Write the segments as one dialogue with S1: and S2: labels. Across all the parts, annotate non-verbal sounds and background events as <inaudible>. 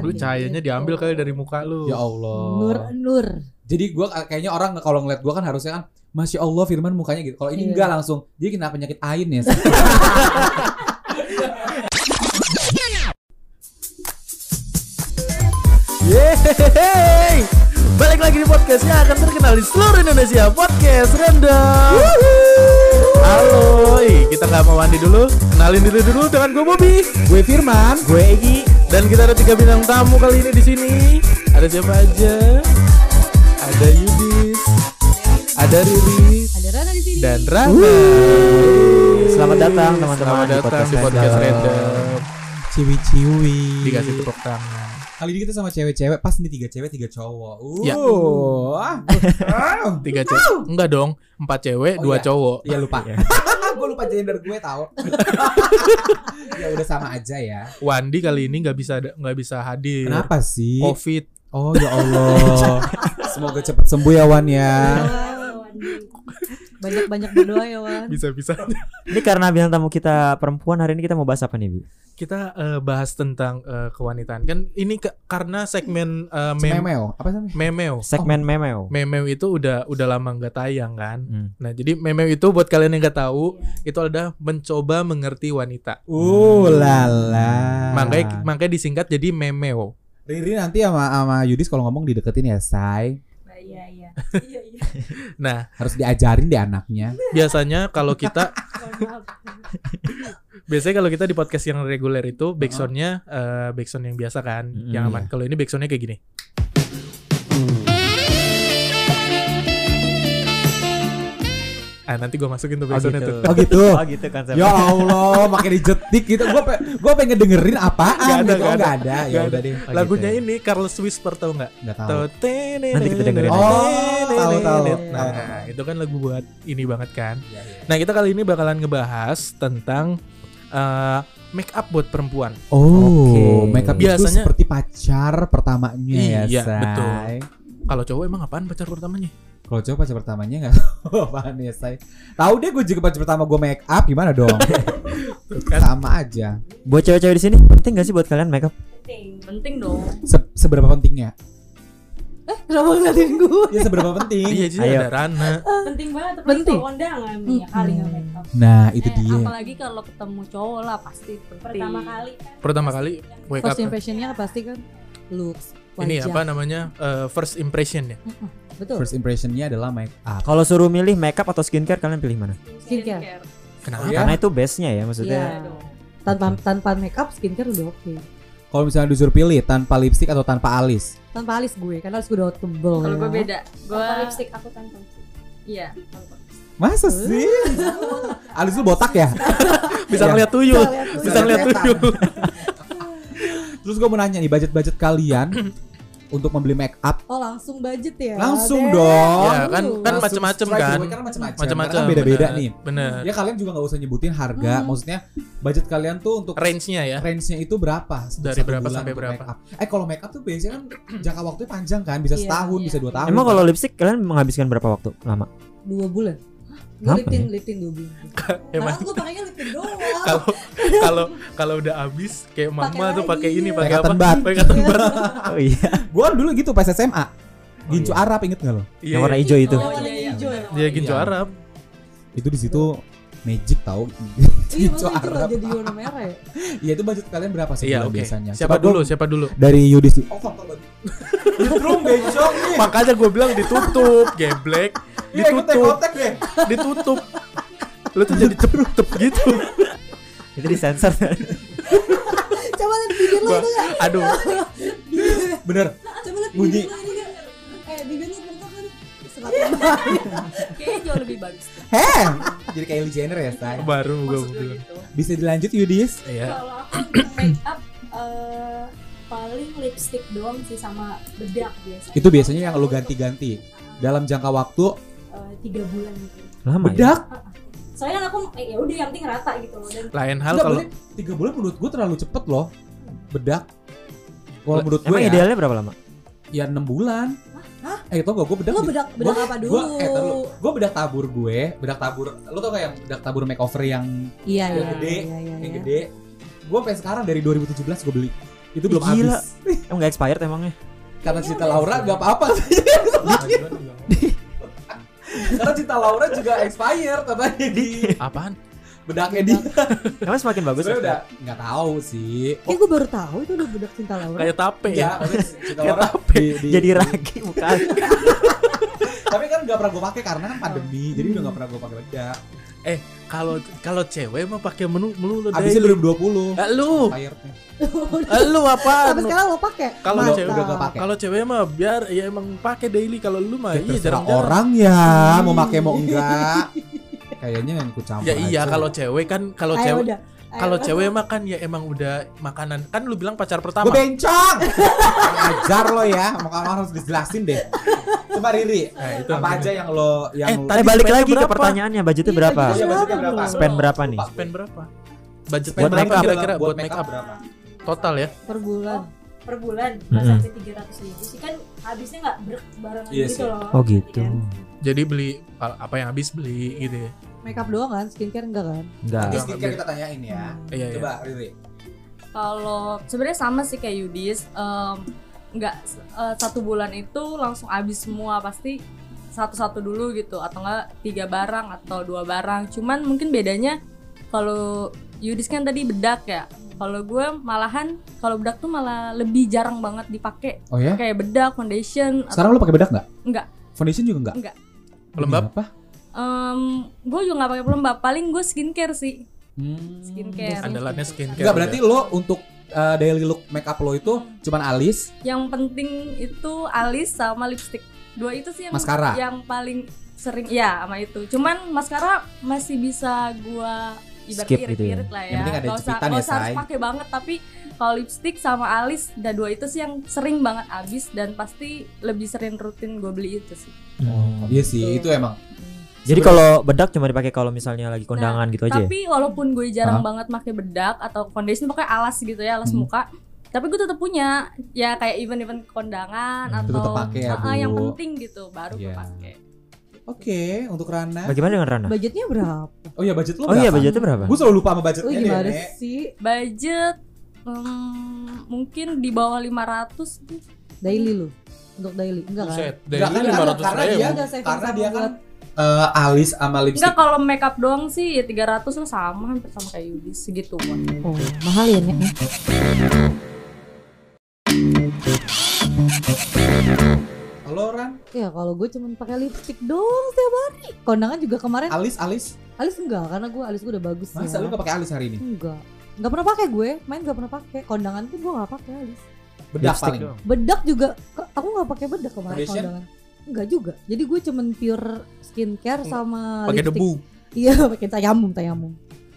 S1: Lu cahayanya diambil kali dari muka lu.
S2: Ya Allah.
S3: Nur Nur.
S2: Jadi gua kayaknya orang kalau ngeliat gua kan harusnya kan Masya Allah Firman mukanya gitu. Kalau ini
S3: Iya.
S2: enggak langsung. Jadi kena penyakit ain ya.
S4: Yeay! Balik lagi di podcast yang akan terkenal di seluruh Indonesia Podcast Random Halo, Ih, kita nggak mau mandi dulu Kenalin diri dulu dengan gue Bobby
S2: Gue Firman.
S4: Gue Egi Dan kita ada tiga bintang tamu kali ini di sini Ada siapa aja? Ada Yudis Ada Riri
S3: Ada Rana di sini.
S4: Dan Rana
S5: Selamat datang, teman-teman,
S4: Selamat
S5: di
S4: datang
S5: podcast
S4: di podcast
S5: Random.
S4: Random
S2: Ciwi-ciwi.
S4: Dikasih tepuk tangan
S2: Kali ini kita sama cewek-cewek. Pas nih tiga cewek tiga cowok. Uh.
S4: Ya.
S2: Ah.
S4: <laughs> Tiga cewek Enggak dong Empat cewek,
S2: Oh,
S4: dua
S2: iya.
S4: cowok
S2: Iya lupa. <laughs> gue lupa gender gue
S4: <laughs>
S2: tahu. ya udah sama aja ya.
S4: Wandi kali ini nggak bisa nggak bisa hadir.
S2: Kenapa sih?
S4: Covid.
S2: Oh ya
S4: <laughs>
S2: Allah. Semoga cepat sembuh ya Wan ya.
S3: Banyak banyak berdoa ya Wan.
S4: Bisa-bisa.
S5: Ini karena bintang tamu kita perempuan hari ini kita mau bahas apa nih, Bi?
S4: Kita eh, bahas tentang eh, kewanitaan. Kan ini ke- karena segmen eh, mem-
S2: Memeo. Apa namanya?
S4: memeo.
S2: Oh.
S5: Segmen memeo.
S4: Memeo itu udah udah lama nggak tayang kan.
S5: Hmm.
S4: Nah, jadi memeo itu buat kalian yang nggak tahu, itu ada mencoba mengerti wanita.
S2: Uh lala.
S4: Ah. Makanya makanya disingkat jadi memeo.
S2: Riri nanti sama sama Yudis kalau ngomong dideketin ya, Say.
S3: Iya iya.
S4: Nah,
S2: Harus diajarin deh anaknya.
S4: biasanya kalau kita biasanya kalau kita di podcast yang reguler itu backsoundnya eh, backsound yang biasa kan,
S5: Mm,
S4: yang
S2: Iya.
S4: aman. Kalau ini backsoundnya kayak gini. Ah nanti gue masukin tuh backsoundnya tuh.
S2: Oh gitu.
S5: <laughs> Oh gitu konsepnya.
S2: Ya Allah, makin dijetik gitu. Gue pe gue pengen dengerin
S4: Nggak
S2: apaan
S4: ada,
S2: gitu. Oh,
S4: nggak
S2: Nggak ada. Ya
S4: Nggak
S2: udah
S4: ada.
S2: deh.
S4: Lagunya ini Carlos Whisper tau nggak?
S2: Nggak gitu ya. tahu.
S4: Tahu
S5: Nanti kita dengerin
S2: aja. Oh, tahu, tahu. Tahu,
S4: Nah,
S2: tahu.
S4: itu kan lagu buat ini banget kan.
S2: Iya, iya.
S4: Nah, kita kali ini bakalan ngebahas tentang eh, make up buat perempuan.
S2: Oh,
S5: Oke.
S2: makeup itu
S4: Biasanya-
S2: seperti pacar pertamanya ya,
S4: Iya,
S2: Say.
S4: betul. Kalau cowok emang apaan pacar pertamanya?
S2: Kalau cowok pacar pertamanya nggak tahu <laughs> apaan ya, Say. Tahu deh gue juga pacar pertama gue make up gimana
S4: <laughs>
S2: dong?
S4: Kan.
S2: Sama aja.
S5: Buat cewek-cewek di sini penting gak sih buat kalian makeup?
S3: Penting penting dong.
S2: Se- seberapa pentingnya?
S3: Kenapa ngeliatin gue?
S2: Ya seberapa penting?
S4: Iya, jadi
S5: Ayo.
S4: ada Rana.
S6: penting banget apalagi
S3: Penting.
S6: kalau kondangan ya kali nggak make up
S2: Nah, itu
S6: Eh,
S2: dia.
S6: apalagi kalau ketemu cowok lah pasti penting. pertama kali kan
S4: Pertama kali wake up.
S3: First Iya. impressionnya pasti kan looks. Wajah.
S4: Ini apa namanya? eh, first impression ya.
S3: Betul.
S2: First impressionnya adalah make up.
S5: Kalau suruh milih makeup atau skincare kalian pilih mana?
S3: Skincare.
S4: Kenapa?
S2: Oh, iya?
S5: Karena itu base-nya ya maksudnya.
S3: Iya.
S6: Ah.
S3: Tanpa tanpa makeup skincare udah oke.
S2: Kalau misalnya disuruh pilih tanpa lipstick atau tanpa alis,
S3: Tanpa alis gue karena alis gue udah tebel.
S6: kalau gue
S3: ya.
S6: beda gue
S7: Tanpa lipstick aku tanpa lipstick.
S6: iya
S2: masa sih? alis lu botak ya?
S4: Eh. <laughs> Bisa
S2: Iya.
S4: ngeliat tuyul. Bisa ngeliat
S2: Setan.
S4: tuyul.
S2: Terus gue mau nanya nih budget-budget kalian
S4: <clears throat>
S2: untuk membeli make up
S3: Oh langsung budget ya?
S2: langsung
S3: Damn.
S4: Ya
S2: dong.
S4: kan
S3: Aduh.
S4: kan
S2: Oh, Langsung
S4: macem-macem
S2: strike
S4: kan.
S2: away, karena macem-macem.
S4: Macem-macem.
S2: Karena kan beda-beda
S4: bener.
S2: nih.
S4: Bener.
S2: Ya kalian juga nggak usah nyebutin harga,
S3: Hmm.
S2: maksudnya budget kalian tuh untuk
S4: Range-nya ya.
S2: range-nya itu berapa? Untuk
S4: Dari
S2: satu
S4: berapa
S2: bulan
S4: sampai
S2: untuk
S4: berapa?
S2: make up. Eh kalau make up tuh biasanya kan jangka waktunya panjang kan, bisa
S3: Iya,
S2: setahun,
S6: iya.
S2: bisa dua tahun.
S5: Emang kalau lipstick kalian menghabiskan berapa waktu?
S2: <laughs>
S5: Lama.
S3: Dua bulan. Gue
S5: Kenapa
S3: lip tint,
S5: ya?
S3: lip tint dua bulan.
S4: Emang
S3: Karena
S2: Nah.
S3: gue pakainya lip tint doang.
S4: kalau kalau kalau udah habis kayak mama
S3: Pakai
S4: tuh pakai
S3: lagi.
S4: ini
S2: Pakai
S4: pakai apa?
S2: cotton bud.
S4: Pakai cotton bud.
S5: Oh iya.
S2: gue dulu gitu pas SMA, gincu Arab inget nggak lo?
S4: Iya.
S5: Yang warna hijau itu.
S6: Oh, iya, iya,
S3: hijau ya.
S6: benar.
S4: Dia gincu
S2: Iya.
S4: Arab.
S2: Itu di situ magic tau <laughs>
S3: Iya,
S2: Hijau
S3: masa itu
S2: Arab.
S3: nggak jadi warna merah ya?
S2: Iya itu budget kalian berapa sebulan
S4: Iya, oke.
S2: biasanya?
S4: Siapa
S2: Coba gua-
S4: dulu? Siapa dulu?
S2: Dari Yudis Oh <laughs> Belum besok nih
S4: Makanya gue bilang ditutup, geblek,
S2: Iya,
S4: ditutup,
S2: deh
S4: ditutup. Lu tuh jadi cep gitu.
S5: Itu disensor.
S3: Coba lihat bibir lo
S4: Gua,
S3: itu nggak?
S4: aduh,
S2: Bener
S3: Coba lihat
S2: Bunyi.
S3: bibir lo ini nggak? Eh, bibir lo bengkak kan? Serat.
S6: kayaknya jauh lebih bagus tuh.
S2: Heh Jadi kayak Kylie Jenner ya say
S4: baru gue
S6: maksud gue
S4: bilang.
S6: gitu
S2: Bisa dilanjut Yudis
S4: Iya.
S7: Kalau aku untuk make up eh, paling lipstick doang sih sama bedak biasanya.
S2: Itu biasanya yang lo ganti-ganti Dalam jangka waktu
S7: Eh, tiga bulan gitu.
S5: Lama ya.
S2: Bedak
S7: Soalnya kan aku eh, ya udah yang penting rata gitu loh dan
S4: Lain hal
S2: Enggak
S4: kalau
S2: boleh Tiga bulan menurut gue terlalu cepet loh Bedak Kalau menurut gue
S5: Emang
S2: ya,
S5: idealnya berapa lama?
S2: ya 6 bulan Hah? Eh tau gak gue bedak
S3: Lo
S2: di-
S3: bedak bedak
S2: Gua-
S3: apa dulu?
S2: Gua, eh, gue bedak tabur gue, bedak tabur. Lo tau gak yang bedak tabur makeover yang
S3: Iya,
S2: yang
S3: iya,
S2: gede,
S3: iya, iya,
S2: yang
S3: iya.
S2: gede. Gue sampai sekarang dari 2017 gue beli. Itu belum
S5: Ih, gila.
S2: habis.
S5: Emang nggak expired emangnya?
S2: Karena cerita Laura gak apa-apa sih. Karena cerita Laura juga expired katanya di
S4: Apaan?
S2: bedaknya di.
S5: Emang semakin bagus. ya?
S2: Sebenarnya udah nggak tahu sih.
S3: Ini gue baru tahu itu udah bedak cinta Laura.
S4: Kayak tape
S2: Ya,
S4: ya?
S2: maksudnya cerita Laura di- di-
S5: Jadi ragi
S2: <laughs>
S5: bukan.
S2: tapi kan nggak pernah gue pakai karena kan pandemi, jadi udah nggak pernah gue pakai Ya, bedak.
S4: Kalau kalau cewek mah pakai menu melu lu deh.
S2: Abisnya 2020.
S4: Eh, lu,
S2: Expirednya.
S4: eh, lu apaan?
S3: Tapi
S2: kan-
S3: sekarang lo pakai.
S4: Kalau
S2: Udah-
S4: cewek
S2: udah gak pakai.
S4: Kalau cewek mah biar ya emang pakai daily kalau lu mah
S2: Ya,
S4: iya
S2: terserah
S4: jarang-jarang.
S2: orang ya mau pakai mau enggak. Kayaknya yang ikut campur.
S4: Ya iya
S2: aja.
S4: kalau cewek kan kalau
S3: Ayo
S4: cewek
S3: udah. Ayo.
S4: kalau cewek mah kan ya emang udah makanan kan lu bilang pacar
S2: Gue
S4: pertama.
S2: bencong Ajar lo ya Mau kamu harus dijelasin deh Coba Riri
S4: Nah, itu
S2: Apa aja yang lo yang
S5: Eh,
S2: lo-
S5: tadi balik
S4: spend
S5: lagi ke
S4: berapa?
S5: pertanyaannya, budgetnya
S3: Iya,
S5: berapa?
S2: Iya, budgetnya berapa?
S3: Belum.
S5: Spend berapa nih?
S2: Lupa.
S4: Spend berapa? Budget
S5: Buat
S4: berapa
S5: make up.
S4: kira-kira buat make up
S2: berapa?
S4: total ya?
S3: per bulan.
S7: per bulan
S5: Mm-mm.
S7: nggak sampai tiga ratus ribu sih kan habisnya nggak ber- barengan
S2: Iya
S7: gitu
S2: sih.
S7: loh
S5: Oh gitu.
S7: Iya.
S4: Jadi beli a- apa yang habis beli gitu ya.
S3: Makeup doang kan, skincare enggak kan?
S5: Enggak.
S2: Nanti skincare kita tanyain ya.
S4: Iya iya.
S2: Coba Riri.
S6: Kalau sebenarnya sama sih kayak Yudis, em, nggak eh, satu bulan itu langsung habis semua pasti satu-satu dulu gitu atau enggak tiga barang atau dua barang. Cuman mungkin bedanya kalau Yudis kan tadi bedak ya. Kalau gue malahan kalau bedak tuh malah lebih jarang banget dipakai
S2: Oh ya?
S6: kayak bedak foundation atau
S2: Sekarang lo pakai bedak nggak?
S6: Nggak.
S2: Foundation juga nggak?
S4: Pelembab
S2: Apa?
S6: gue juga nggak pakai pelembab paling gue skincare sih
S2: Hmm.
S6: skincare
S4: andalannya skincare.
S2: Enggak berarti lo untuk uh, daily look make up lo itu cuman alis,
S6: yang penting itu alis sama lipstick dua itu sih yang
S2: maskara.
S6: yang paling sering ya sama itu cuman maskara masih bisa gua ibarat
S5: Skip gitu ya.
S6: irit-irit lah ya
S2: Yang penting ada
S6: Nggak usah,
S2: jepitan
S6: nggak
S2: ya,
S6: usah harus
S2: Shay.
S6: pakai banget tapi kalau lipstick sama alis dan dua itu sih yang sering banget habis dan pasti lebih sering rutin gue beli itu sih
S2: Oh, iya sih, itu emang.
S5: Hmm. Jadi kalau bedak cuma dipakai kalau misalnya lagi kondangan
S6: Nah,
S5: gitu
S2: Iya.
S5: aja ya?
S6: tapi walaupun gue jarang banget pakai bedak atau foundation pakai alas gitu ya alas
S2: Hmm.
S6: muka tapi gue tetap punya ya kayak event-event kondangan
S5: Hmm,
S6: atau
S2: tetap pakai ya,
S6: Ah, ah, yang
S2: Bu.
S6: penting gitu baru gue
S2: Iya.
S6: pakai
S2: Oke, untuk Rana.
S5: Bagaimana dengan
S2: Nah.
S5: Rana?
S3: Budgetnya berapa?
S2: Oh iya budget lo
S5: Oh iya,
S2: berapa?
S5: budgetnya berapa?
S2: Gue selalu lupa sama budgetnya
S3: Lu
S2: deh,
S3: gimana
S2: Nek.
S3: sih?
S6: budget hmm, mungkin di bawah 500 tuh.
S3: Daily lu. Untuk daily. Enggak kan?
S4: Buset, daily
S2: Enggak, kan,
S4: lima ratus
S2: karena
S4: ribu.
S2: dia
S3: Enggak saving
S2: karena
S3: sama
S2: dia kan eh, alis sama lipstick.
S6: Enggak kalau makeup doang sih ya 300 lah sama hampir sama kayak Yudi segitu.
S3: Oh, mahal ya, Nek.
S2: Lo Ran,
S3: Ya kalau gue cuman pakai lipstick doang setiap hari. Kondangan juga kemarin
S2: alis alis.
S3: alis enggak karena gue alis gue udah bagus
S2: Masa
S3: ya.
S2: lu gak pakai alis hari ini?
S3: Enggak. Enggak pernah pakai gue, main enggak pernah pakai. Kondangan pun gue enggak pakai alis.
S2: Hmm. Bedak
S5: Lipstick
S2: paling.
S5: doang.
S3: Bedak juga ke- aku enggak pakai bedak kemarin
S2: Foundation?
S3: kondangan. Enggak juga. Jadi gue cuman pure skincare
S2: Hmm.
S3: sama
S4: Pakai
S3: lipstick.
S4: debu.
S3: Iya, <laughs> pakai tayamum, tayamum.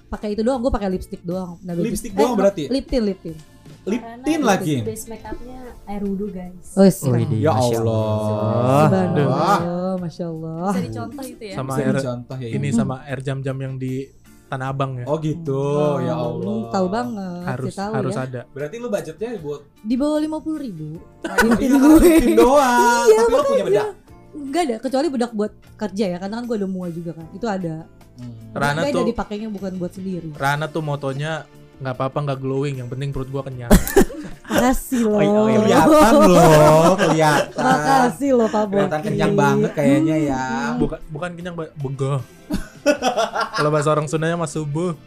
S3: Pakai itu doang, gue pakai lipstick doang. Nah, baby-
S2: Lipstick doang berarti?
S3: Lip tint, lip tint.
S2: Lip
S7: Karena
S2: tint lagi.
S7: base make upnya air wudhu guys
S3: Oh, yes.
S5: Widih,
S2: Ya
S5: Masya
S2: Allah. Wah.
S3: Masya Allah.
S6: Bisa dicontoh itu ya.
S4: Sama
S2: Bisa
S4: air
S2: dicontoh ya.
S4: ini sama air jam-jam yang di Tanah Abang ya.
S2: Oh gitu,
S3: Wow,
S2: ya Allah.
S3: Tahu banget,
S4: harus
S3: sih tahu
S4: harus
S3: ya.
S4: ada.
S2: Berarti lu budgetnya buat
S3: Di bawah 50 ribu.
S2: Iya, karena lip tint doang.
S3: Iya,
S2: Tapi lu punya bedak.
S3: Enggak ada, kecuali bedak buat kerja ya, karena kan gue ada mua juga kan. Itu ada.
S2: Hmm.
S4: Rana
S3: Tapi ada
S4: tuh
S3: dipakainya bukan buat sendiri.
S4: Rana tuh motonya nggak apa-apa nggak glowing yang penting perut gua kenyang.
S3: Makasih loh.
S5: Oh iya, oh iya.
S2: Kelihatan loh, kelihatan.
S3: Makasih loh Pak Boki.
S2: Kelihatan kenyang banget kayaknya ya.
S3: Hmm.
S4: bukan bukan kenyang Mbak. begah kalau bahasa orang Sundanya mas subuh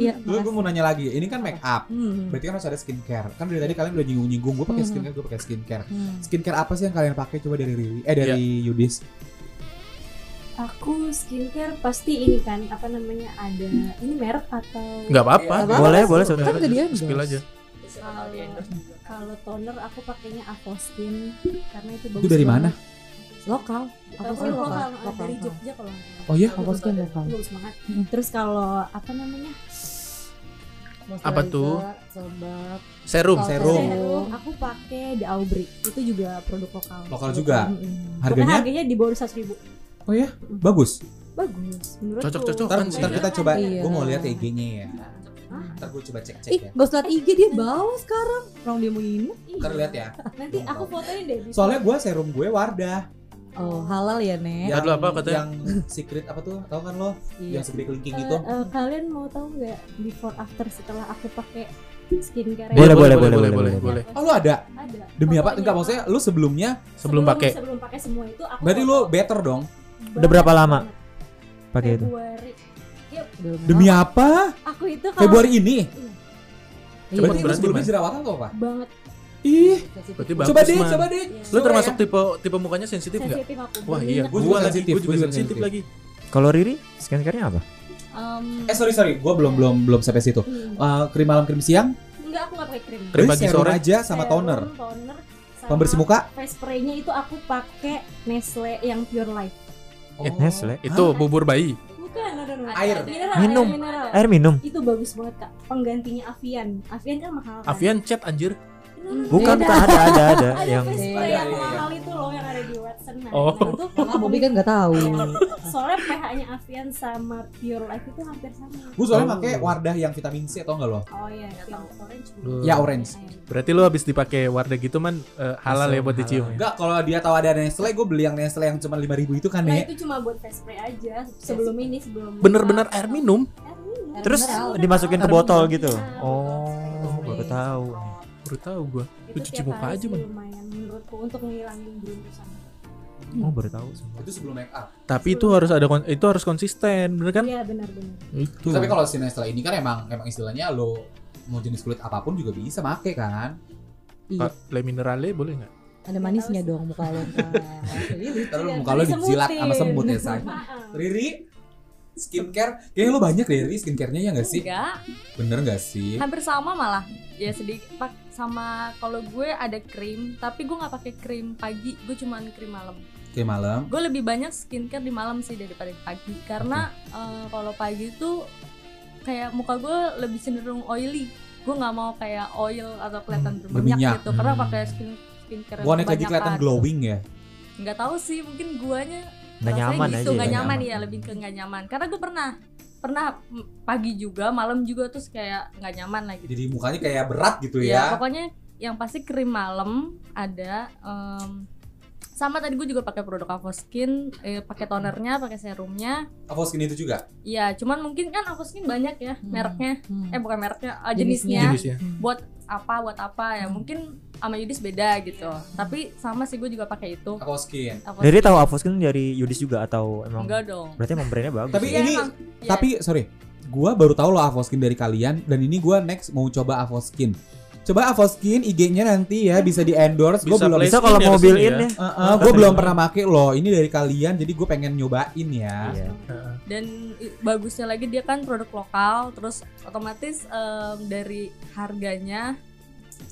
S3: Iya,
S2: Lu gue
S3: makasih.
S2: mau nanya lagi, ini kan make up.
S3: Hmm.
S2: Berarti kan harus ada skincare. Kan dari tadi kalian udah nyinggung-nyinggung, gue pakai skincare, gue pakai skincare.
S3: Hmm.
S2: Skincare apa sih yang kalian pakai coba dari Riri? Eh dari
S4: Iya.
S2: Yudis.
S7: aku skincare pasti ini kan apa namanya ada ini merek atau
S4: nggak apa-apa
S3: Nggak apa-apa.
S5: Boleh, boleh
S4: Boleh
S5: sebentar.
S3: Kan udah
S4: aja,
S3: di-endorse.
S4: spill aja
S7: Kalau- kalau toner aku pakainya Avoskin karena itu bagus
S2: Itu dari mana?
S3: Lokal. Apa
S7: Aku
S3: sih lokal? Lokal.
S7: dari
S3: lokal.
S7: Jogja kalau nggak salah.
S2: Oh iya?
S3: Avoskin lokal.
S7: Bagus banget.
S3: Mm.
S7: Terus kalau apa namanya?
S4: Apa tuh?
S3: Moisturizer, Sebab Oh.
S4: serum
S2: Kalau-
S7: Serum.
S2: Serum.
S7: Aku pakai The Aubrey. Itu juga produk lokal.
S2: Lokal juga?
S7: Mm-mm. Bukan
S2: Harganya
S7: harganya di bawah 100 ribu.
S2: bagus.
S7: Bagus. Menurut
S4: Cocok, cocok.
S2: Ntar,
S4: Keren sih.
S2: ntar kita coba,
S3: Iya.
S2: gue mau lihat IG-nya ya. Ntar gue coba cek-cek
S3: Ih,
S2: ya.
S3: gak usah liat IG dia bau sekarang. Orang dia mau ini.
S2: Ntar lihat ya.
S7: Nanti aku fotoin deh. di-
S2: Soalnya gue serum gue Wardah.
S3: Oh, halal ya, Nek.
S2: Yang,
S4: Aduh, apa katanya?
S2: yang secret apa tuh? Tahu kan lo?
S3: Iya.
S2: Yang secret kelingking
S7: Eh,
S2: itu.
S7: eh, kalian mau tahu nggak before after setelah aku pakai
S5: Boleh,
S7: skincare yang-
S5: boleh, boleh,
S4: boleh,
S5: boleh,
S4: boleh, boleh.
S2: Oh lu ada?
S7: Ada.
S2: Demi apa?
S7: Fotonya.
S2: Enggak maksudnya lu sebelumnya
S4: Sebelum pakai.
S7: Sebelum pakai semua itu aku
S2: berarti
S7: foto
S2: lu better dong.
S3: Oh.
S5: Udah berapa
S7: banget.
S5: lama? pakai itu.
S7: Februari.
S2: Demi apa?
S7: Aku itu kalau
S2: Februari ini.
S3: Iya,
S2: Berarti lu
S4: berarti
S2: sebelumnya
S4: Mas.
S2: jerawatan atau apa?
S7: banget
S2: Ih,
S4: Berarti bagus,
S2: coba deh,
S4: Man.
S2: coba deh.
S7: Iya.
S4: Lu termasuk tipe tipe mukanya sensitif nggak?
S7: sensitif aku.
S4: Wah iya,
S7: Banyak.
S4: gue
S2: Gua
S4: juga lagi,
S2: sensitif,
S4: gue
S2: gua juga
S4: juga sensitif
S2: sensitif.
S4: lagi.
S5: Kalau Riri, skincare-nya
S2: Oh.
S5: apa?
S7: Em,
S2: Eh sorry sorry, gue belum belum belum sampai situ.
S7: hmm.
S2: Eh, krim malam krim siang,
S7: Enggak, aku nggak pakai krim.
S4: Krim
S2: Lu
S4: pagi,
S2: serum
S4: sore.
S2: aja sama
S7: Serum,
S2: toner,
S7: toner sama
S2: pembersih muka.
S7: Face spray-nya itu aku pakai Nestle yang Pure Life.
S5: Eh, Nestle.
S4: Itu
S7: Hah?
S4: bubur bayi.
S7: Bukan, no, no, no.
S2: Air.
S7: Mineral,
S5: Minum.
S7: air mineral.
S5: Air minum.
S7: Itu bagus banget, Kak. Penggantinya Avian. Avian kan mahal kan? Hmm.
S4: Avian chat anjir.
S7: No, no, no.
S5: Bukan Kak, ada
S6: <laughs>
S5: ada ada
S7: Ada
S5: yang
S7: face spray
S2: Ada, ada,
S7: yang
S2: ada.
S7: mahal itu loh yang ada di Watson. Nah,
S4: iya. Oh.
S7: nah, itu
S3: Karena Bobby kan nggak tahu.
S7: <laughs> soalnya pH-nya Avian sama Pure Life itu hampir sama.
S2: Gue
S4: Oh.
S2: soalnya pakai wardah yang vitamin C tau gak lo?
S7: Oh iya, yang orange. Nah, iya.
S4: Duh.
S2: Ya orange.
S4: Berarti lu habis dipakai wardah gitu man eh, halal ya buat
S5: Halal.
S4: dicium. ya?
S2: Enggak, kalau dia tahu ada Nestle, gue beli yang Nestle yang cuma 5000 itu kan
S7: Nah,
S2: nih.
S7: itu cuma buat face spray aja sebelum ini sebelum
S4: Bener-bener air minum.
S7: Air minum.
S5: terus
S3: Mineral.
S5: dimasukin ke botol gitu.
S7: Iya,
S5: Oh,
S7: betul.
S5: baru tahu.
S4: Baru tahu gue.
S7: Itu
S4: Lu cuci
S7: tiap
S4: muka
S7: hari
S4: aja,
S7: sih
S4: Man.
S7: lumayan menurutku untuk menghilangin beruntusan
S5: Oh, baru tahu. sumpah.
S2: Nah, Itu sebelum make up.
S4: Tapi itu harus ada kon- itu harus konsisten, bener kan?
S7: iya benar-benar
S4: Itu.
S2: Tapi kalau si Nestle ini kan emang emang istilahnya lo mau jenis kulit apapun juga bisa make kan.
S4: Kak, Le minerale boleh nggak?
S3: Ada manisnya dong muka lo.
S2: Terus
S7: Iya,
S2: muka lo
S7: disemutin.
S2: dijilat sama semut ya, say.
S7: Maaf.
S2: Riri, skincare, kayaknya lo banyak deh Riri skincare-nya ya gak sih?
S6: Enggak,
S2: Bener gak sih?
S6: hampir sama malah. Ya sedikit pak- sama kalau gue ada krim, tapi gue nggak pakai krim pagi, gue cuman krim malam.
S2: Kayak malam.
S6: Gue lebih banyak skincare di malam sih daripada di pagi, karena eh, kalau pagi tuh kayak muka gue lebih cenderung oily. Gue nggak mau kayak oil atau kelihatan berminyak,
S2: berminyak.
S6: gitu, karena
S5: Hmm.
S6: pakai skin skincare yang
S2: Bonek lagi
S6: kebanyakan.
S2: kelihatan glowing
S6: kan.
S2: ya.
S6: Nggak tahu sih, mungkin guanya
S5: Nggak
S6: Rasanya
S5: nyaman
S6: gitu,
S5: aja.
S6: nggak
S5: ya,
S6: nyaman, ya lebih ke nggak nyaman karena gue pernah pernah mm, pagi juga malam juga terus kayak nggak nyaman lah gitu
S2: Jadi mukanya kayak berat gitu
S6: ya
S2: ya.
S6: pokoknya yang pasti krim malam ada em, sama tadi gue juga pakai produk Avoskin eh, pakai tonernya pakai serumnya
S2: Apa skin itu juga?
S6: ya cuman mungkin kan Avoskin banyak ya
S3: Hmm.
S6: mereknya eh bukan mereknya eh,
S3: Jenisnya. Hmm.
S6: jenisnya
S4: Jenisnya.
S6: buat apa buat apa ya mungkin sama Yudis beda gitu tapi sama sih gue juga pakai itu
S2: Apa skin.
S6: Avoskin
S5: Riri tahu Avoskin dari Yudis juga atau emang
S6: enggak dong
S5: Berarti emang brandnya bagus.
S2: Tapi
S5: ya?
S2: ini
S6: emang. Iya.
S2: tapi sorry, gua baru tahu lo Avoskin dari kalian dan ini gua next mau coba Avoskin. Coba Avoskin IG-nya nanti ya bisa di endorse. Gue
S4: Bisa
S2: belum
S4: play-
S5: bisa kalau
S4: Ini
S5: mau
S4: harus
S5: build
S4: ini
S5: in
S4: ya.
S5: ya.
S4: <laughs>
S2: gue belum pernah make lo. Ini dari kalian jadi gue pengen nyobain ya.
S5: Iya.
S6: dan i- bagusnya lagi dia kan produk lokal terus otomatis em, dari harganya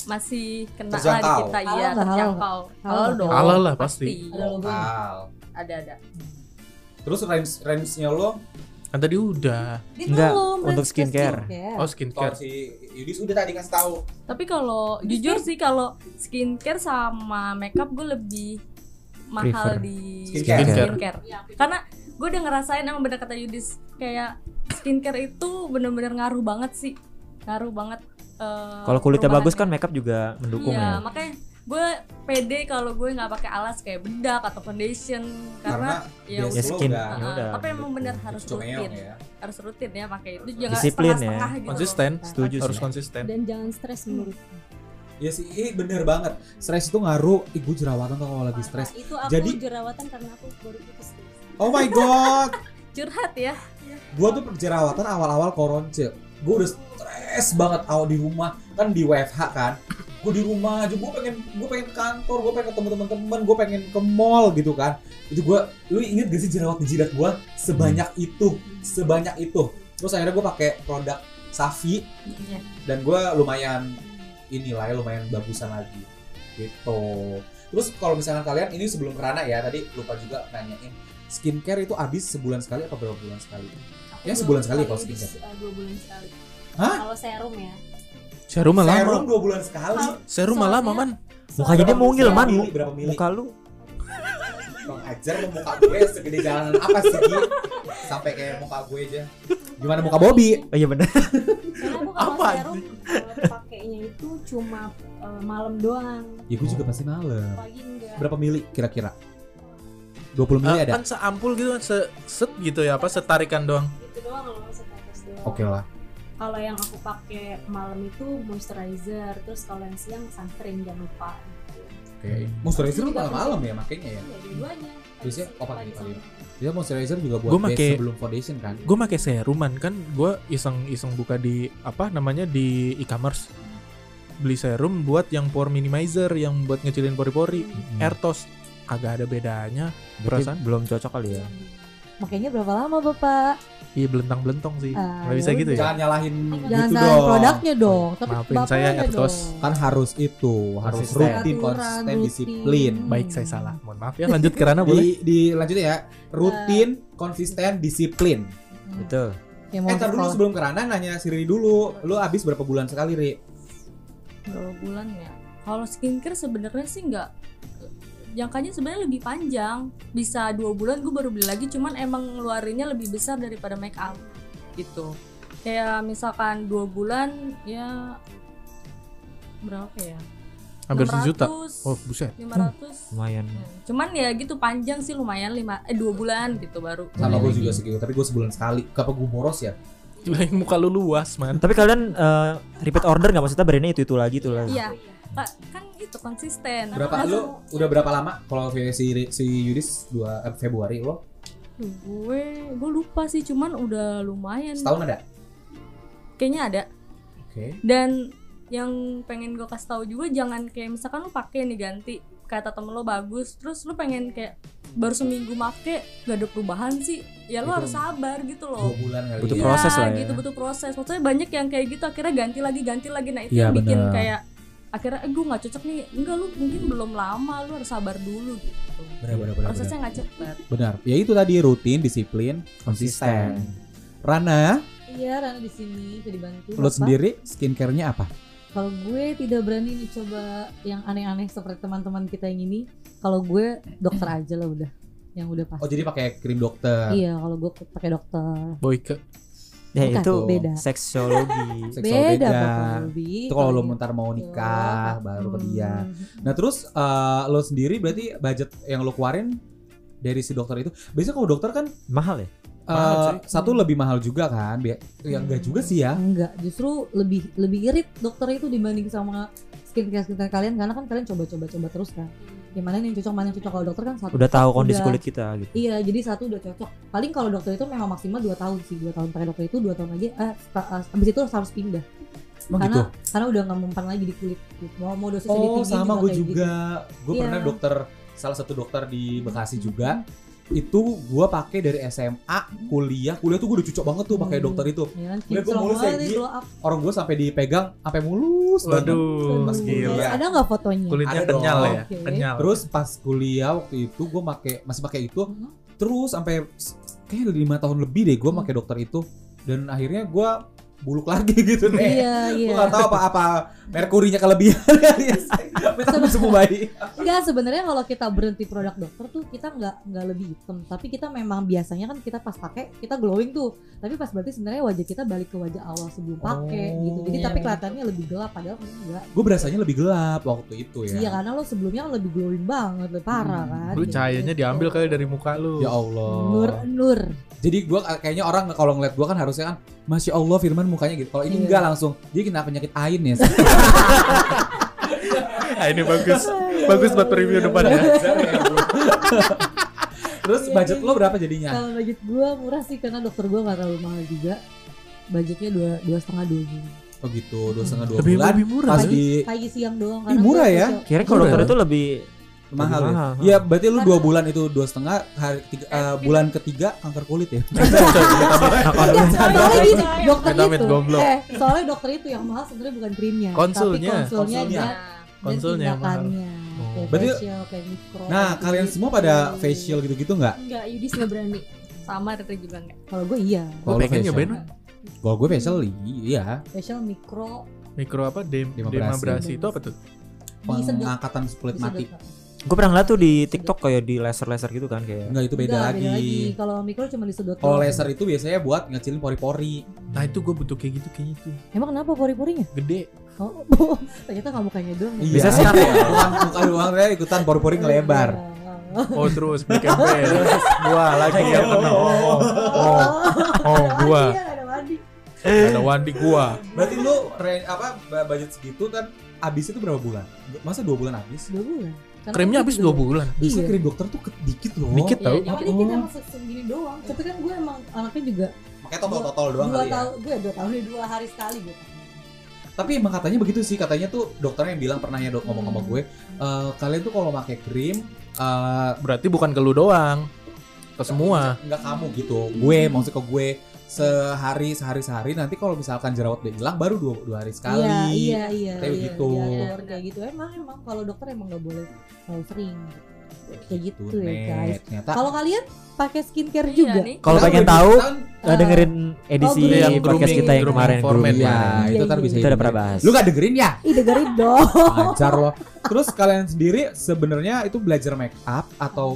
S6: masih kena lah di
S2: Terjangkau.
S6: kita
S3: Halal
S6: iya
S3: nggak halal?
S6: terjangkau
S3: Halal
S6: halal
S3: nggak?
S6: dong Iya,
S4: Halal lah, pasti.
S3: Ada logo.
S2: Wow.
S6: ada ada
S2: Terus range range-nya lo
S4: Kan tadi udah.
S3: Iya.
S5: Enggak,
S3: belum,
S5: untuk
S3: Ren.
S5: skincare.
S4: Oh,
S2: kalau
S4: skincare.
S2: si Yudis udah tadi kasih tahu.
S6: tapi kalau jujur sih kalau skincare sama makeup gue lebih mahal
S5: Prefer.
S6: di
S2: Skincare.
S4: Skincare.
S6: skincare.
S3: Iya,
S6: karena gue udah ngerasain emang bener kata Yudis kayak skincare itu bener-bener ngaruh banget sih ngaruh banget eh,
S5: Kalau kulitnya bagus
S6: perubahannya.
S5: kan makeup juga mendukung
S6: Iya,
S5: ya.
S6: makanya gue pede kalau gue nggak pakai alas kayak bedak atau foundation karena,
S2: biasa
S5: Ya
S6: ya, udah.
S2: Slow
S5: skin.
S2: udah.
S5: ya
S6: Heeh,
S5: udah,
S6: tapi emang
S5: mendukung.
S6: bener harus
S2: Cuma
S6: rutin,
S2: ya.
S6: harus rutin ya pakai itu jangan
S5: Disiplin ya.
S6: setengah-setengah gitu.
S4: Konsisten,
S5: Setuju
S4: harus
S5: sih.
S4: konsisten.
S7: dan jangan stres
S2: Hmm.
S7: menurut
S2: Iya sih, ih, bener banget. Stres itu ngaruh. Ih, gue jerawatan tuh kalau lagi stres.
S7: itu aku
S2: Jadi-
S7: jerawatan karena aku baru putus stres
S2: Oh my god.
S6: Curhat ya.
S2: gue tuh jerawatan awal-awal koronce. Gue udah stres banget awal di rumah. Kan di WFH kan. Gue di rumah aja. Gue pengen gue pengen ke kantor. Gue pengen ketemu teman-teman. Gue pengen ke mall gitu kan. Itu gue. Lu inget gak sih jerawat di jidat gue sebanyak itu, sebanyak itu. Terus akhirnya gue pakai produk Safi
S6: Iya.
S2: dan gue lumayan inilah ya, lumayan bagusan lagi gitu terus kalau misalkan kalian ini sebelum kerana ya tadi lupa juga nanyain skincare itu habis sebulan sekali apa berapa bulan sekali Ya, sebulan sekali ya. kalau skincare.
S7: eh, dua bulan sekali
S2: Hah?
S7: kalau serum ya
S4: Serum mah
S2: serum
S4: lama.
S2: dua bulan sekali
S4: Serum mah lama,
S7: Soalnya-
S4: man.
S5: Mukanya dia
S2: Berapa
S5: mungil man.
S2: mili, berapa mili?
S5: Muka lu
S2: Bang ajar lu muka gue segede jalanan apa sih Gi? sampai kayak muka gue aja gimana muka Bobby
S5: Oh iya benar.
S7: Karena aku kalau
S4: Apa
S7: serum eh, pakainya itu cuma eh, malam doang
S2: ya gue juga pasti malam
S7: pagi enggak
S2: berapa mili kira-kira 20 mili
S4: Eh,
S2: ada
S4: kan seampul gitu kan, se set gitu ya apa setarikan doang. eh.
S7: gitu doang loh setetes doang
S2: oke lah
S7: kalau yang aku pakai malam itu moisturizer terus kalau yang siang sunscreen jangan lupa
S2: Oke. Moisturizer lu malam-malam ya makainya ya.
S7: ya dua-duanya
S2: Biasanya apa
S7: pagi
S2: pagi-pagi?
S7: sama-
S2: Dia Iya, moisturizer juga
S4: Gua
S2: buat base
S4: make-
S2: sebelum foundation kan.
S4: gue pakai seruman kan gue iseng iseng buka di apa namanya di e-commerce beli serum buat yang pore minimizer yang buat ngecilin pori-pori
S2: Hmm.
S4: Ertos kagak ada bedanya perasaan
S5: belum cocok kali ya.
S3: Makanya berapa lama Bapak?
S4: iya belentang belentong sih
S3: Ah,
S4: nggak bisa
S3: ya
S4: gitu ya
S2: Jangan nyalahin
S3: Jangan
S2: gitu
S3: salahin
S2: dong.
S3: produknya dong. Tapi
S4: Maafin saya,
S3: bapaknya
S4: Ertos.
S3: dong.
S2: Kan harus itu, harus
S5: Konsisten.
S2: rutin,
S3: Aturan,
S2: konsisten,
S3: rutin.
S2: disiplin.
S4: baik saya salah mohon maaf ya <laughs> lanjut
S2: Nah,
S4: kerana boleh
S2: Di, dilanjutin ya, rutin, konsisten, disiplin.
S5: Betul.
S3: Ya, mau
S2: Eh, ntar dulu
S3: sekolah.
S2: sebelum kerana nanya si Riri dulu, lu abis berapa bulan sekali Riri?
S6: dua bulan ya kalau skincare sebenarnya sih nggak jangkanya sebenarnya lebih panjang bisa dua bulan gue baru beli lagi cuman emang ngeluarinnya lebih besar daripada make up gitu kayak misalkan dua bulan ya berapa ya
S4: hampir sejuta
S6: 600,
S4: oh buset
S6: 500
S5: Lumayan.
S6: Hmm. cuman ya gitu panjang sih lumayan lima eh dua bulan gitu baru
S2: Sama gue
S6: beli
S2: juga
S6: lagi.
S2: segitu, tapi gue sebulan sekali. Kenapa gue boros ya?
S4: Gila, yang muka lu luas man
S5: Tapi kalian eh, repeat order nggak maksudnya brandnya itu itu lagi itu lagi.
S6: iya Pak, kan itu konsisten
S2: Berapa
S6: Langsung-
S2: lu udah berapa lama kalau si si- si Yudis 2 eh, Februari lo?
S6: Duh, gue gue lupa sih cuman udah lumayan
S2: Setahun ada?
S6: kayaknya ada
S2: Oke.
S6: dan yang pengen gue kasih tahu juga jangan kayak misalkan lu pakai nih ganti kata temen lo bagus terus lu pengen kayak baru seminggu make gak ada perubahan sih ya lu
S2: Itu
S6: harus sabar gitu
S2: Dua
S6: loh
S2: bulan kali.
S5: Butuh
S2: ya.
S6: Iya,
S5: proses lah ya.
S6: gitu butuh proses maksudnya banyak yang kayak gitu akhirnya ganti lagi ganti lagi nah itu
S2: Iya,
S6: yang bikin
S2: bener.
S6: kayak akhirnya eh, gue nggak cocok nih enggak lu mungkin belum lama lu harus sabar dulu gitu
S2: Benar, benar, benar, benar.
S6: prosesnya nggak cepat
S2: Benar. Ya itu tadi rutin, disiplin, konsisten. Rana,
S3: Iya, Rana di sini bisa dibantu.
S2: lo
S3: Bapak.
S2: sendiri skincare-nya apa?
S3: Kalau gue tidak berani nih coba yang aneh-aneh seperti teman-teman kita yang ini. Kalau gue dokter aja lah udah. Yang udah
S2: Oh,
S3: pasti.
S2: jadi pakai krim dokter.
S3: Iya, kalau gue pakai dokter.
S4: boyke
S5: Ya
S3: Bukan,
S5: itu
S3: beda. <laughs>
S5: seksologi.
S2: Seksual beda.
S3: Bapak Ruby.
S2: Itu kalau lo
S3: gitu.
S2: ntar mau nikah baru ke dia.
S3: Hmm.
S2: Nah, terus eh, lo sendiri berarti budget yang lo keluarin dari si dokter itu. Biasanya kalau dokter kan
S5: Mahal ya?
S2: eh,
S4: Mahal, Hmm. cuy.
S2: satu lebih mahal juga kan? Bi- Ya
S3: Hmm.
S2: enggak juga sih ya.
S3: Enggak, justru lebih lebih irit dokter itu dibanding sama skincare skincare kalian karena kan kalian coba-coba-coba terus kan. Gimana yang cocok, mana yang cocok kalau dokter kan satu.
S5: Udah tahu kondisi
S3: Udah.
S5: kulit kita gitu.
S3: Iya, jadi satu udah cocok. Paling kalau dokter itu memang maksimal 2 tahun sih, 2 tahun pakai dokter itu 2 tahun lagi eh sta- eh, abis itu harus pindah.
S2: Emang
S3: karena
S2: gitu.
S3: karena udah nggak mempan lagi di kulit. gitu. Mau mau dosis
S2: Oh, sama gue
S3: kayak
S2: juga. Gue
S3: Iya. Hmm.
S2: pernah dokter salah satu dokter di Bekasi juga. Itu gue pakai dari SMA, kuliah. Kuliah tuh gue udah cocok banget tuh pakai
S3: Hmm.
S2: dokter itu.
S3: Gitu. Ya, kan?
S2: Udah, gua
S3: Selama
S2: mulus kayak
S3: ini
S2: gini.
S3: glow up.
S2: Orang gue sampai dipegang, sampai mulus banget.
S4: waduh
S2: Mas
S4: gila
S2: gila.
S3: Ada nggak fotonya?
S4: kulitnya
S2: Ada dong.
S4: kenyal ya
S3: Oke.
S4: kenyal
S2: Terus pas kuliah waktu itu gue pakai masih pakai itu.
S3: Mhm.
S2: Terus sampai s- kayaknya lima tahun lebih deh gue
S3: Hmm.
S2: pakai dokter itu. Dan akhirnya gue buluk lagi <laughs> gitu deh.
S3: Iya,
S2: Gue
S3: iya.
S2: gak tau apa-apa merkurinya kelebihan <laughs> kali ya. Sampai tambah semua bayi.
S3: Enggak sebenarnya kalau kita berhenti produk dokter tuh kita nggak nggak lebih hitam, tapi kita memang biasanya kan kita pas pakai kita glowing tuh, tapi pas berarti sebenarnya wajah kita balik ke wajah awal sebelum pakai
S2: Oh.
S3: gitu. Jadi
S2: Iya,
S3: tapi kelihatannya lebih gelap padahal enggak.
S2: Gue berasanya lebih gelap waktu itu
S3: Iya
S2: ya.
S3: karena lo sebelumnya kan lebih glowing banget, lebih parah
S2: Hmm.
S3: kan.
S1: Lu
S3: Gitu.
S1: cahayanya diambil kali dari muka lu.
S2: Ya Allah.
S3: Nur Nur.
S2: Jadi gua kayaknya orang kalau ngeliat gua kan harusnya kan Masya Allah Firman mukanya gitu Kalau ini
S3: Iya.
S2: enggak langsung Dia kena penyakit ain ya
S4: ah, ini bagus bagus buat preview depan ya
S3: <laughs>
S2: Terus
S3: Iya,
S2: budget
S3: iya.
S2: lo berapa jadinya?
S3: Kalau budget gua murah sih karena dokter gua nggak terlalu mahal juga. Budgetnya dua dua setengah dua gini.
S2: Oh gitu,
S3: Hmm.
S2: dua setengah dua
S4: lebih
S2: bulan
S4: lebih murah ya?
S2: Pas
S4: sih.
S2: di
S3: Pagi siang doang.
S2: Ih,
S3: karena
S2: murah
S3: gua
S2: ya?
S3: social-
S5: Kira kalau dokter itu lebih
S2: mahal ya?
S5: mahal.
S2: Iya berarti lu dua bulan itu dua setengah hari tiga- eh, bulan ketiga kanker kulit ya.
S3: Enggak, soalnya gini, dokter
S4: Vitamin
S3: itu.
S4: goblok.
S3: Eh, soalnya dokter itu yang mahal sebenarnya bukan krimnya,
S4: Konsulnya.
S3: tapi konsulnya,
S2: Konsulnya.
S6: Iya.
S3: dan-
S4: Konsulnya
S3: dan
S4: yang mahal. Oh.
S3: tindakannya. Kayak
S2: Berarti-
S3: facial, kayak mikro.
S2: <laughs> Nah
S3: kayak
S2: kalian
S3: gitu.
S2: semua pada facial gitu-gitu nggak?
S7: enggak Yudis nggak berani
S6: sama ada juga nggak
S3: Kalau gue iya,
S4: Gue
S2: Kalau
S4: pengen
S2: facial.
S4: nyobain Wan.
S2: Kalau gue facial iya.
S3: facial mikro
S4: mikro apa dem
S2: Demobrasi.
S4: demobrasi itu apa tuh?
S3: disedot.
S2: Pengangkatan kulit
S3: Disedot,
S2: mati.
S3: Pak.
S5: Gue pernah lihat tuh di TikTok kayak di laser-laser gitu kan kayak.
S2: Enggak itu beda
S3: Enggak,
S2: lagi.
S3: Kalau mikro cuma disedot.
S2: Kalau
S3: doang.
S2: laser itu biasanya buat ngecilin pori-pori.
S4: Nah itu gue butuh kayak gitu kayaknya tuh
S3: Emang kenapa pori-porinya?
S4: gede.
S3: Oh, <laughs> ternyata nggak mukanya doang. ya.
S5: Bisa
S2: Iya.
S5: sekarang ya.
S2: Uang muka <laughs> doang dia ikutan pori-pori Iya,
S3: <laughs>
S2: ngelebar.
S4: Oh terus black and <laughs> white. Iya.
S5: gitu.
S4: gua lagi yang kena. Oh, oh, oh, oh, gua.
S3: Iya, nggak ada mandi.
S4: Ada Wandi gua.
S2: Berarti lu re- apa ba- budget segitu kan abis itu berapa bulan? Masa dua bulan abis?
S3: dua bulan Karena
S4: Krimnya
S3: kan
S4: habis
S3: gitu.
S4: dua bulan.
S2: Bisa
S3: Iya.
S2: krim dokter tuh ke- dikit loh.
S4: Dikit
S6: Iya,
S4: tau.
S6: iya.
S3: Jadi
S2: Oh.
S3: kita emang se- segini doang tapi kan gue emang anaknya juga
S2: Makanya totol-totol doang
S3: dua
S2: kali ya.
S3: tahun gue dua tahun nih, dua hari sekali gitu. gue
S2: Tapi emang katanya begitu sih, katanya tuh dokternya yang bilang pernah ya dok ngomong sama
S3: Hmm.
S2: gue, "Eh, kalian tuh kalau pakai krim eh
S3: iya.
S4: Berarti bukan ke lu doang. Ke semua.
S2: nggak kamu gitu.
S3: Hmm.
S2: Gue maksud ke gue sehari sehari sehari nanti kalau misalkan jerawat udah hilang baru dua, dua hari sekali.
S3: Iya, iya, iya.
S2: Kayak
S3: iya,
S2: gitu.
S3: diatur kayak gitu. Emang emang kalau dokter emang nggak boleh terlalu sering. Kayak gitu
S2: Tuh,
S3: ya
S2: Net.
S3: guys.
S2: Ternyata
S3: Kalau kalian pakai skincare
S6: Iya
S3: juga.
S6: nih.
S5: Kalau
S2: Kita
S5: pengen
S2: udah
S5: tahu,
S2: bilang,
S5: eh, dengerin edisi
S3: grooming,
S5: yang podcast kita yang
S4: grooming
S5: kemarin
S4: format.
S5: grooming.
S2: Iya, itu kan
S3: Iya,
S2: bisa.
S5: Itu udah
S2: didengerin.
S5: pernah bahas.
S2: Lu gak dengerin
S3: <laughs>
S2: ya?
S3: Ih dengerin dong. <laughs>
S2: Ajar loh. Terus kalian sendiri sebenarnya itu belajar make up atau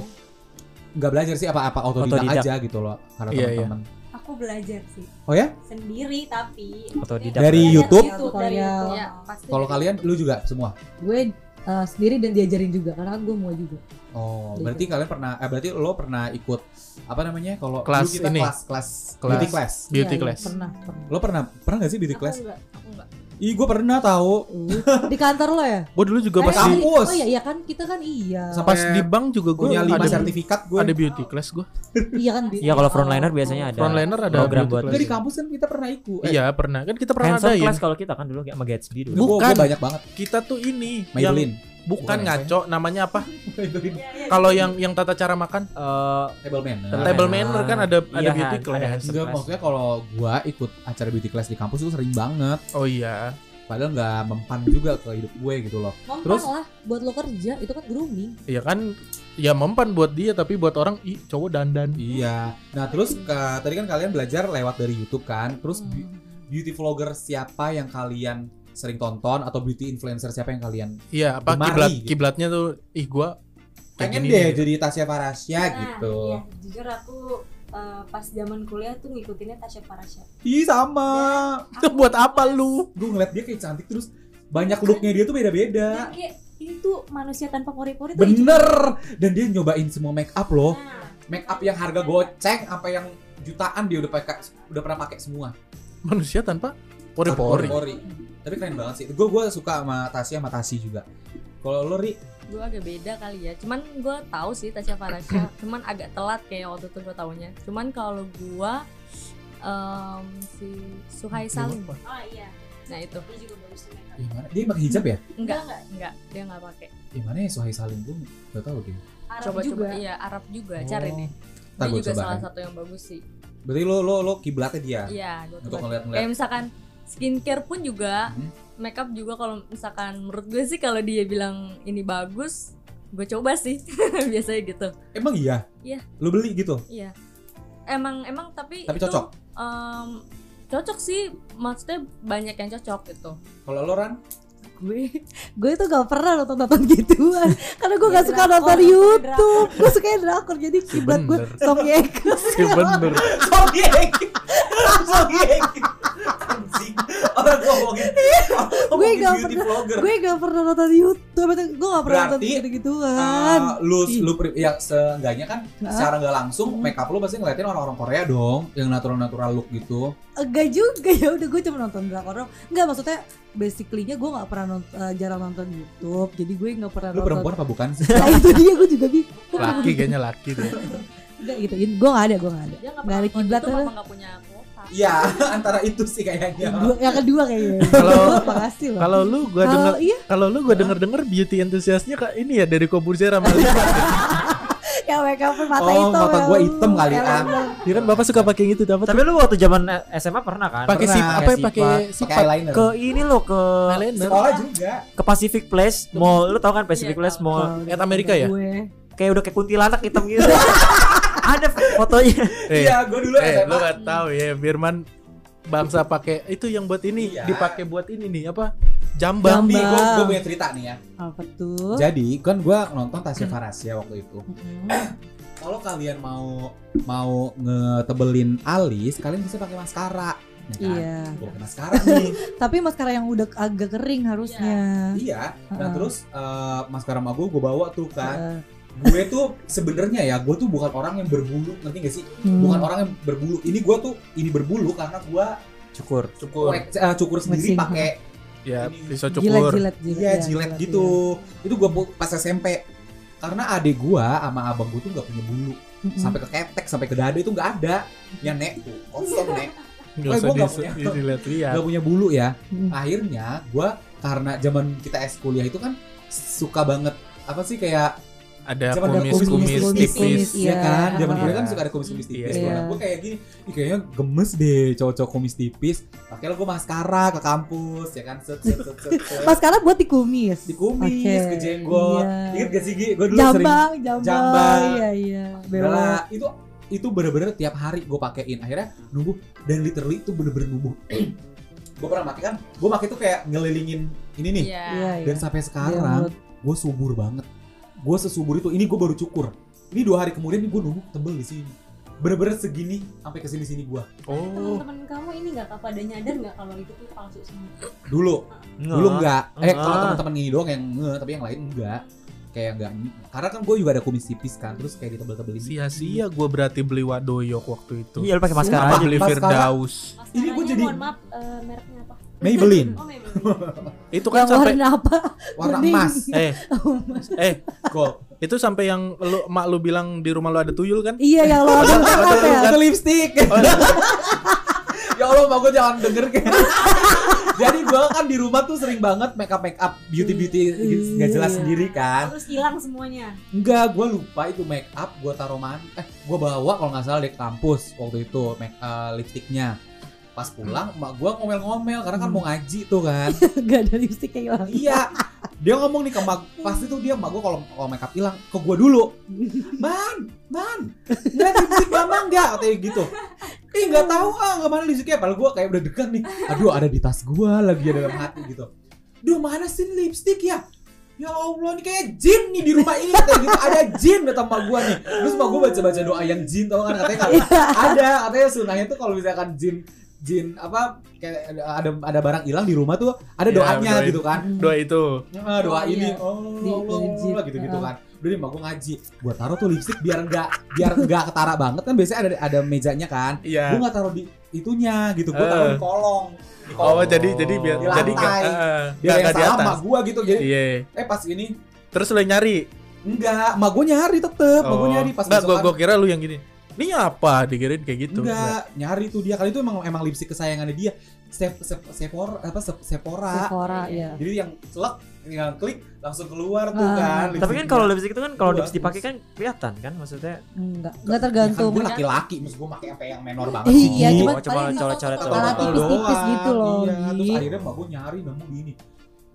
S2: nggak belajar sih apa-apa autodidak,
S5: Autodidak.
S2: aja gitu loh karena
S4: Iya,
S2: teman-teman.
S7: Aku belajar sih.
S2: Oh ya?
S7: Sendiri tapi.
S5: Otodidak.
S2: Dari
S7: Belajar
S2: YouTube?
S7: YouTube, dari
S3: Tutorial.
S7: YouTube.
S6: Iya, pasti.
S2: Kalau kalian lu juga semua.
S3: gue eh, sendiri dan diajarin juga karena kan gue mau juga.
S2: Oh,
S3: Gitu.
S2: berarti kalian pernah eh berarti lo pernah ikut apa namanya kalau dulu
S4: Kelas
S2: kita
S4: ini.
S2: kelas kelas
S4: Kelas.
S2: beauty class.
S4: Beauty
S3: Iya, iya,
S4: class.
S3: pernah, pernah.
S2: Lo pernah pernah gak sih beauty
S6: Aku
S2: class?
S6: enggak, aku enggak.
S2: Ih, gue pernah tahu.
S3: Uh, di kantor lo ya?
S4: Gua dulu juga
S2: Eh,
S4: pas
S2: kamu
S4: di
S2: kampus.
S3: Oh iya, iya kan kita kan iya.
S2: Sampai
S4: pas di bank juga gua
S2: punya lima
S4: ada
S2: sertifikat gue.
S4: ada beauty class gua.
S3: Iya kan.
S5: Iya kalau frontliner biasanya ada.
S4: Frontliner ada
S5: Program
S4: beauty
S5: buat-
S2: Enggak
S4: class.
S2: di kampus kan kita pernah ikut. Eh,
S4: Iya pernah kan kita pernah
S5: Handsome
S4: adain
S5: class kalau kita kan dulu kayak sama Gatsby dulu.
S2: gua- gua
S4: Bukan.
S2: banyak banget.
S4: kita tuh ini yang <laughs>
S2: Maybelline. Bukan
S4: bukan
S2: ya,
S4: ngaco namanya apa
S2: Maybelline.
S4: kalau yang yang tata cara makan
S5: Eh,
S2: Table man.
S5: Table
S4: table
S5: manner.
S4: manner kan ada ada
S5: Iya,
S4: beauty
S5: ada
S4: class
S5: handsome
S2: Enggak
S5: class.
S2: maksudnya kalau gua ikut acara beauty class di kampus itu sering banget.
S4: oh iya
S2: Padahal nggak mempan juga ke hidup gue gitu loh.
S3: Mempan
S2: Terus?
S3: lah buat lo kerja itu kan grooming.
S4: ya kan ya mempan buat dia tapi buat orang i cowok dandan
S2: Iya. Nah terus ke- tadi kan kalian belajar lewat dari YouTube kan. Terus be-
S3: Hmm.
S2: beauty vlogger siapa yang kalian sering tonton atau beauty influencer siapa yang kalian
S4: iya apa
S2: Gemari,
S4: kiblat
S2: gitu.
S4: kiblatnya tuh ih gua kayak
S2: pengen
S4: gini
S2: deh
S4: nih.
S2: jadi gitu Tasya Farasya
S7: Nah,
S2: gitu.
S7: iya. jujur aku eh, pas zaman kuliah tuh ngikutinnya Tasya Parasya.
S2: Ih sama.
S4: <laughs> buat apa lu
S2: Gue ngeliat dia kayak cantik terus banyak looknya dia tuh beda-beda.
S7: Dan kayak ini tuh manusia tanpa pori-pori tuh
S2: Bener. Dan dia nyobain semua make up loh.
S7: Nah,
S2: Make up yang harga goceng apa yang jutaan dia udah pakai udah pernah pakai semua.
S4: manusia tanpa pori-pori
S2: Tapi keren banget sih. Gue gue suka sama Tasya sama Tasi juga. Kalau lo Ri,
S6: Gue agak beda kali ya. Cuman gue tahu sih Tasya
S2: <clears throat>
S6: Farasya. Cuman agak telat kayak waktu itu gue taunya. Cuman kalau gue em, si Suhai Salim.
S7: Oh iya,
S6: Nah itu
S7: dia juga bagus tuh make up.
S2: yang mana? Dia pakai hijab ya?
S6: enggak enggak dia enggak pakai.
S2: Yang mana ya Suhai Salim gue gak tahu deh.
S7: Arab
S6: Coba
S7: juga.
S6: coba iya Arab juga
S2: Oh.
S6: cari nih.
S2: Ntar
S6: Dia
S2: gue
S6: juga
S2: coba.
S6: salah satu yang bagus sih.
S2: Berarti lo lo lo kiblatnya dia.
S6: Iya, gue
S2: Untuk
S6: coba.
S2: ngeliat-ngeliat.
S6: Kayak misalkan skincare pun juga
S2: Hmm.
S6: makeup juga kalau misalkan menurut gue sih kalau dia bilang ini bagus, gue coba sih. <laughs> Biasanya gitu.
S2: Emang iya?
S6: Iya.
S2: Lo beli gitu?
S6: Iya. Emang emang tapi
S2: Tapi
S6: itu,
S2: cocok?
S6: em, cocok sih maksudnya banyak yang cocok gitu.
S2: Kalau lo Ran? <laughs>
S3: gue gue tuh gak pernah nonton nonton gituan
S5: <laughs>
S3: karena
S5: Iya,
S3: gue gak suka
S7: Drakor,
S3: nonton
S7: drakor.
S3: YouTube gue suka drakor jadi kiblat gue
S4: Bener.
S3: Song Ye Kyo
S4: Iya, bener
S2: Sorry Sorry Anjing Orang gue ngomongin
S6: Iya.
S3: Gue nggak
S2: beauty
S3: pernah-
S2: vlogger
S3: gue gak pernah nonton YouTube gue gak pernah nonton
S2: Berarti,
S3: gitu gituan
S2: Ah, lu
S6: Iya.
S2: lu pri- ya seenggaknya kan
S3: Hah?
S2: secara nggak
S6: Hmm.
S2: langsung make up lu pasti ngeliatin orang-orang Korea dong yang natural-natural look gitu.
S3: enggak juga ya udah gue cuma nonton drakor doang enggak maksudnya basically-nya gue gak pernah nont- eh, jarang nonton YouTube jadi gue gak pernah
S2: Lu
S3: nonton
S2: perempuan apa bukan sih? <laughs>
S3: nah itu dia gue juga bingung
S4: laki kayaknya laki deh
S3: <laughs> enggak gitu gue gak ada gue gak ada
S6: Dia nggak
S3: Nggak
S6: pernah
S3: ada
S6: nonton
S3: kiblat,
S6: YouTube
S3: ada.
S6: apa nggak punya kuota.
S2: Iya, <laughs> antara itu sih kayaknya.
S3: Dua- yang kedua kayaknya
S4: Kalau-
S3: <laughs> makasih loh
S4: kalau lu gua denger
S3: kalau iya
S4: kalau lu gua denger denger beauty entusiasnya kak ini ya dari Koburzer sama Lima
S3: yang make up mata
S2: Oh,
S3: hitam ya
S2: mata gue
S3: Allah.
S2: hitam kali
S3: Ya
S2: ah.
S3: Allah.
S4: ya kan bapak suka pakai yang itu tuh apa tuh?
S5: Tapi lu waktu zaman SMA pernah kan?
S4: pakai
S2: Pernah,
S4: sip apa ya
S5: pakai
S4: pakai
S2: Pakai
S4: sip
S2: eyeliner.
S5: Ke ini lo ke
S4: Eh,
S2: Sekolah juga.
S5: ke Pacific Place Mall. Lu tau kan Pacific
S6: Iya,
S5: Place
S6: tahu.
S5: Mall?
S4: At Amerika ya?
S3: Gue.
S5: Kayak udah kayak kuntilanak hitam gitu. <laughs> Ada fotonya.
S4: Eh,
S2: Iya, gue dulu
S4: Eh, lu
S2: SMA.
S4: gak tahu ya, Firman bangsa pakai itu yang buat ini
S2: Iya.
S4: dipakai buat ini nih apa jambang
S2: Tapi gue
S3: Bambang.
S2: punya cerita nih ya.
S3: Apa tuh?
S2: Jadi kan gue nonton Tasya Farasya waktu itu.
S3: Mm-mm.
S2: Kalau kalian mau mau ngetebelin alis, kalian bisa pakai maskara. Ya kan?
S3: Iya.
S2: Gua pakai maskara nih.
S3: <laughs> Tapi maskara yang udah agak kering harusnya.
S2: iya. Nah
S3: Heeh.
S2: terus eh, maskara sama gue, gue bawa tuh kan.
S3: Heeh.
S2: gue tuh sebenarnya ya, gue tuh bukan orang yang berbulu, ngerti gak sih?
S3: Hmm.
S2: Bukan orang yang berbulu. Ini gue tuh ini berbulu karena gue
S5: cukur.
S2: cukur,
S1: cukur
S2: cukur sendiri
S3: Mesin.
S2: pakai
S4: ya
S2: Ini-
S4: pisau
S3: Jilat,
S4: cukur
S3: jilat, jilat.
S2: Iya
S3: ya,
S2: jilet
S3: jilat,
S2: gitu. Itu gua bu- pas SMP. Karena adik gua sama abang gua tuh nggak punya bulu,
S3: jilat. Mm-mm.
S2: sampai ke ketek, sampai ke dada itu nggak ada. Ya nek, tuh. kosong nek,
S4: nggak
S2: Eh,
S4: usah
S2: gua nggak
S4: dis- iya.
S2: punya.
S4: dilihat-lihat
S2: nggak punya bulu ya.
S3: Mm-mm.
S2: Akhirnya gua karena zaman kita es kuliah itu kan suka banget apa sih kayak
S4: ada
S2: Coba ada
S4: kumis-kumis
S2: kumis-kumis,
S4: tipis
S3: kumis, iya.
S2: ya kan zaman
S4: Iya.
S2: kuliah kan suka ada kumis-kumis tipis
S4: Iya.
S2: Nah, gua kayak gini Ih, kayaknya gemes deh cowok-cowok kumis tipis pakailah gua maskara ke kampus ya kan set set set set, set.
S3: Maskara buat di kumis.
S2: di kumis
S3: Oke,
S2: ke jenggot
S3: iya.
S2: inget gak sih Gi? gua dulu sering
S3: Jambang, jambang,
S2: Jambang.
S3: iya iya. Belok.
S2: Bella itu itu bener-bener tiap hari gue pakein akhirnya numbuh dan literally itu bener-bener <clears throat> numbuh gue pernah pakai kan gue pakai tuh kayak ngelilingin ini nih
S6: Iya.
S3: Iya iya.
S2: dan sampai
S3: Dia
S2: sekarang
S3: mulut.
S2: gue subur banget gue sesubur itu ini gue baru cukur ini dua hari kemudian gue numbuh tebel di sini bener-bener segini sampai ke sini sini gue
S4: oh
S7: Teman-teman kamu ini nggak apa ada nyadar nggak kalau itu tuh palsu semua?
S2: dulu dulu enggak eh kalau
S5: Enggak.
S2: teman-teman ini doang yang nge, tapi yang lain enggak kayak enggak karena kan gue juga ada kumis tipis kan terus kayak ditebel-tebelin
S4: sia-sia gue berarti beli wadoyok waktu itu
S5: Iya lu pakai maskara
S2: Apa?
S5: aja.
S4: beli
S2: Maskara.
S4: Firdaus
S2: Ini gua
S7: Maskaranya,
S2: jadi-
S7: mohon maaf eh, mereknya apa?
S3: <laughs>
S2: Maybelline
S7: Oh Maybelline.
S4: itu kan
S3: Yang
S4: sampai
S3: warna apa?
S2: warna
S3: Kuning.
S2: emas
S4: <laughs> eh
S2: Oh,
S4: eh
S2: gold
S4: itu sampai yang lu mak lu bilang di rumah lu ada tuyul kan
S3: Iya yang lo ada
S2: Itu-
S3: ya.
S2: itu Iya. <laughs> lipstick. Oh, iya. ya Allah, mak gue jangan denger <laughs> kayak. Jadi gue kan di rumah tuh sering banget make up make up beauty beauty nggak jelas
S3: Iya.
S2: sendiri kan.
S7: Terus hilang semuanya.
S2: Enggak, gue lupa itu make up gue taruh mana. Eh, gue bawa kalau nggak salah dari kampus waktu itu make eh, lipsticknya. Pas pulang, mak gue ngomel-ngomel karena kan mau ngaji tuh kan.
S3: Gak ada lipstick kayak orang.
S2: iya. Dia ngomong nih ke mak, pasti tuh dia mak gue kalau kalau make up hilang ke gue dulu. Man, man, ngeliat lipstick mama nggak? Katanya gitu. Ih nggak tahu ah kemana lipstiknya? Padahal gue kayak udah dekat nih. Aduh ada di tas gue lagi ada dalam hati gitu. Duh mana sih lipstick ya? Ya Allah ini kayak jin nih di rumah ini katanya gitu ada jin kata mak gue nih. Terus mak gue baca baca doa yang jin tau kan katanya
S3: Iya.
S2: kalau ada katanya sunahnya tuh kalau misalkan jin jin apa kayak ada- ada ada barang hilang di rumah tuh ada
S4: Iya,
S2: doanya
S4: doain.
S2: gitu kan
S4: doa itu
S2: Ah, doa ini
S7: Doanya.
S3: iya.
S2: oh
S3: Di- wajib.
S2: Allah gitu gitu kan udah nih mak gue ngaji gue taruh tuh lipstick biar enggak biar enggak ketara banget kan biasanya ada ada mejanya kan gue
S4: iya Eh.
S2: nggak taruh di itunya gitu gue taruh di kolong Di kolong.
S4: oh, jadi jadi biar
S2: Di
S4: jadi nggak
S2: lantai.
S4: eh,
S2: biar
S4: nggak-
S2: yang
S4: nggak di
S2: salah
S4: atas
S2: mak gue gitu jadi
S4: iya
S2: eh pas ini
S4: terus lu yang nyari
S2: enggak mak gue nyari tetep mak gue
S4: Oh.
S2: nyari pas
S4: Nggak, gua,
S2: besokan,
S4: gua kira lu yang gini ini apa dikirain kayak gitu
S2: enggak nyari tuh dia kali itu emang emang lipstick kesayangannya dia Sep, sep, sepor, apa, sep- sepora.
S3: Sephora ya.
S2: Jadi yang celak, yang klik langsung keluar tuh
S3: Ah.
S2: kan.
S5: Tapi kan
S2: lipsticknya.
S5: kalau lipstick itu kan kalau
S2: Dua.
S5: lips dipakai kan kelihatan kan maksudnya.
S3: Enggak, enggak
S2: Ya kan
S3: tergantung.
S2: gua laki-laki, maksud gue pakai apa yang menor banget sih.
S3: Iya,
S5: Ih,
S3: cuma
S5: cuma coret-coret
S3: Kepala
S2: Kepala
S3: tipis-tipis
S2: doang,
S3: gitu loh.
S2: Iya, terus
S3: Gi.
S2: akhirnya mak gue nyari nemu di ini.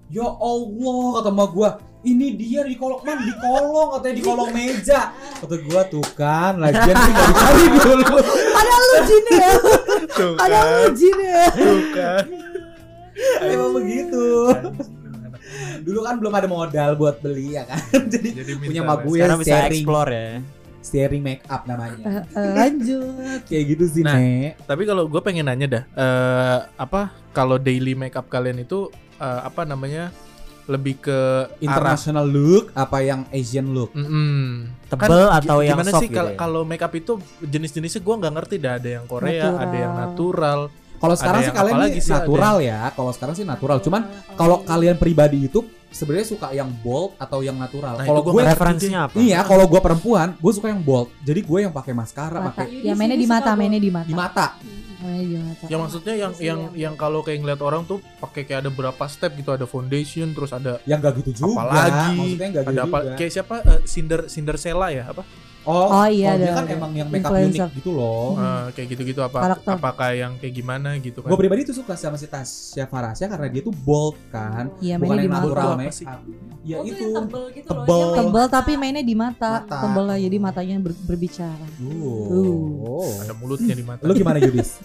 S2: Ya Allah kata mak gue, ini dia di kolong man di kolong katanya di kolong meja. Kata gue tuh kan, lagian ini nggak dicari <laughs> dulu.
S3: Padahal lu jin ya.
S4: tuh
S3: Padahal lu jin ya.
S4: tuh
S2: <laughs>
S4: kan
S2: Emang begitu. Dulu kan belum ada modal buat beli ya kan. <laughs> Jadi
S4: jadi
S2: punya
S4: minta
S2: mak gue
S5: Sekarang bisa
S2: sharing,
S5: explore ya.
S2: sharing make up namanya.
S3: Eh, Lanjut.
S2: Kayak gitu sih,
S4: Nah,
S2: Nek.
S4: Tapi kalau gue pengen nanya dah, eh, apa kalau daily makeup kalian itu eh, apa namanya lebih ke arah
S2: International look apa yang Asian look?
S4: Mm-mm. Kan
S5: Tebel atau
S4: gi-
S5: yang
S4: gimana
S5: soft
S4: sih
S5: gitu
S4: kalau
S5: ya?
S4: kalau makeup itu jenis-jenisnya gue nggak ngerti dah ada yang Korea, ada yang natural.
S2: Kalau
S4: Ada
S2: sekarang sih
S4: yang
S2: kalian
S4: apa
S2: nih
S4: lagi sih, ada
S2: natural ya. Kalau sekarang sih natural. Cuman
S7: Iya,
S2: kalau kalian pribadi itu sebenarnya suka yang bold atau yang natural.
S4: Nah,
S2: kalau
S4: itu gua
S2: gue
S4: ngerti.
S5: Referensinya apa?
S2: iya, kalau gue perempuan, gue suka yang bold. Jadi gue yang pakai maskara,
S3: Mata.
S2: pakai
S3: Ya mainnya di mata, mainnya di
S2: di
S3: mata.
S2: mata.
S7: Hmm.
S3: Mainnya di mata.
S4: Yang Ya, maksudnya yang yang yang kalau kayak ngeliat orang tuh pakai kayak ada berapa step gitu, ada foundation, terus ada
S2: Yang gak gitu juga.
S4: Apalagi,
S2: maksudnya gak gitu
S4: ada apa?
S2: juga.
S4: Kayak siapa? Eh, Cinder Cinderella ya apa?
S2: Oh,
S3: Oh iya,
S2: kalau dia
S3: ada-
S2: kan
S3: ada.
S2: emang yang makeup
S3: Influencer.
S2: unik gitu loh.
S4: Eh, kayak gitu-gitu apa?
S3: Karakter.
S4: Apakah yang kayak gimana gitu kan?
S2: Gue pribadi tuh suka sama si Tasya Farasya karena dia tuh bold kan.
S3: Iya,
S2: Bukan
S3: mainnya di
S2: yang
S3: mata.
S4: Bold
S2: natural
S4: tuh apa
S2: make
S4: sih?
S2: up. Ya
S7: Oh, tuh
S2: itu.
S7: yang Oh, tebel gitu loh.
S2: Tebel.
S7: yang
S3: Tebel tapi mainnya di mata.
S2: Mata.
S3: Tebel lah jadi matanya ber- berbicara.
S2: Tuh.
S4: Ada mulutnya di mata.
S2: Lu gimana Yudis?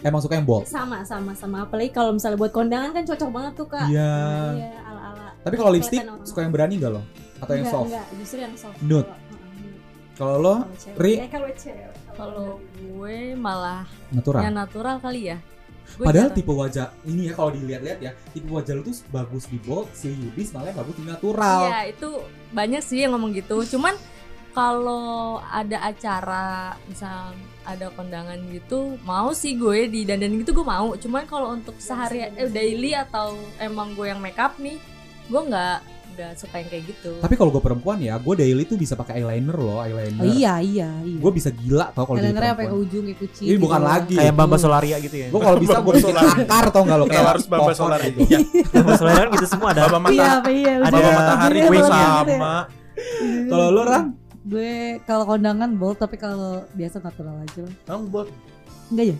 S2: Emang suka yang bold?
S7: sama sama sama apalagi kalau misalnya buat kondangan kan cocok banget tuh kak
S2: Iya.
S7: Nah, iya ala ala
S2: Tapi kalau lipstick
S7: Kelihatan orang.
S2: suka yang berani nggak lo? Atau yang soft?
S7: enggak justru yang soft
S2: Nude.
S7: Kalau- heeh,
S2: Kalau lo
S7: kalau cewek.
S2: Ri?
S7: Eh, kalau cewek
S6: Kalau gue malah
S2: natural.
S6: yang natural kali ya. Gue
S2: Padahal
S6: jarang-
S2: tipe wajah ini ya kalau dilihat-lihat ya, tipe wajah lu tuh bagus di bold, si Yudis malah yang bagus di natural.
S6: Iya itu banyak sih yang ngomong gitu. Cuman kalau ada acara misal ada kondangan gitu mau sih gue di dandan gitu gue mau cuman kalau untuk sehari eh, daily atau emang gue yang make up nih gue nggak nggak suka yang kayak gitu
S2: Tapi kalau gue perempuan ya, gue daily tuh bisa pakai eyeliner loh, eyeliner.
S3: Oh iya ya? iya iya.
S2: Gue bisa gila tau kalau jadi
S3: Kalendernya sampai ke
S2: perempuan.
S3: ujung ke kucing. gitu. Iya,
S2: Ini bukan
S4: iya.
S2: lagi.
S5: Kayak Bamba Solaria gitu ya.
S2: Gue kalau bisa gue bikin
S4: Solar.
S2: akar tau gak lo gitu.
S4: Kenapa harus Bamba Solar
S2: itu.
S4: Iya,
S5: Bamba Solaria kan gitu semua ada.
S4: Baba
S3: Iya,
S4: Mata-
S3: iya.
S5: Ada
S4: Baba
S3: bener.
S4: Matahari
S3: Ujungnya
S4: gue
S3: bolong gitu ya.
S4: sama.
S2: Kalau lo Ran?
S3: Gue kalau kondangan bold tapi kalau biasa natural aja lah.
S1: Kamu buat
S3: Enggak ya?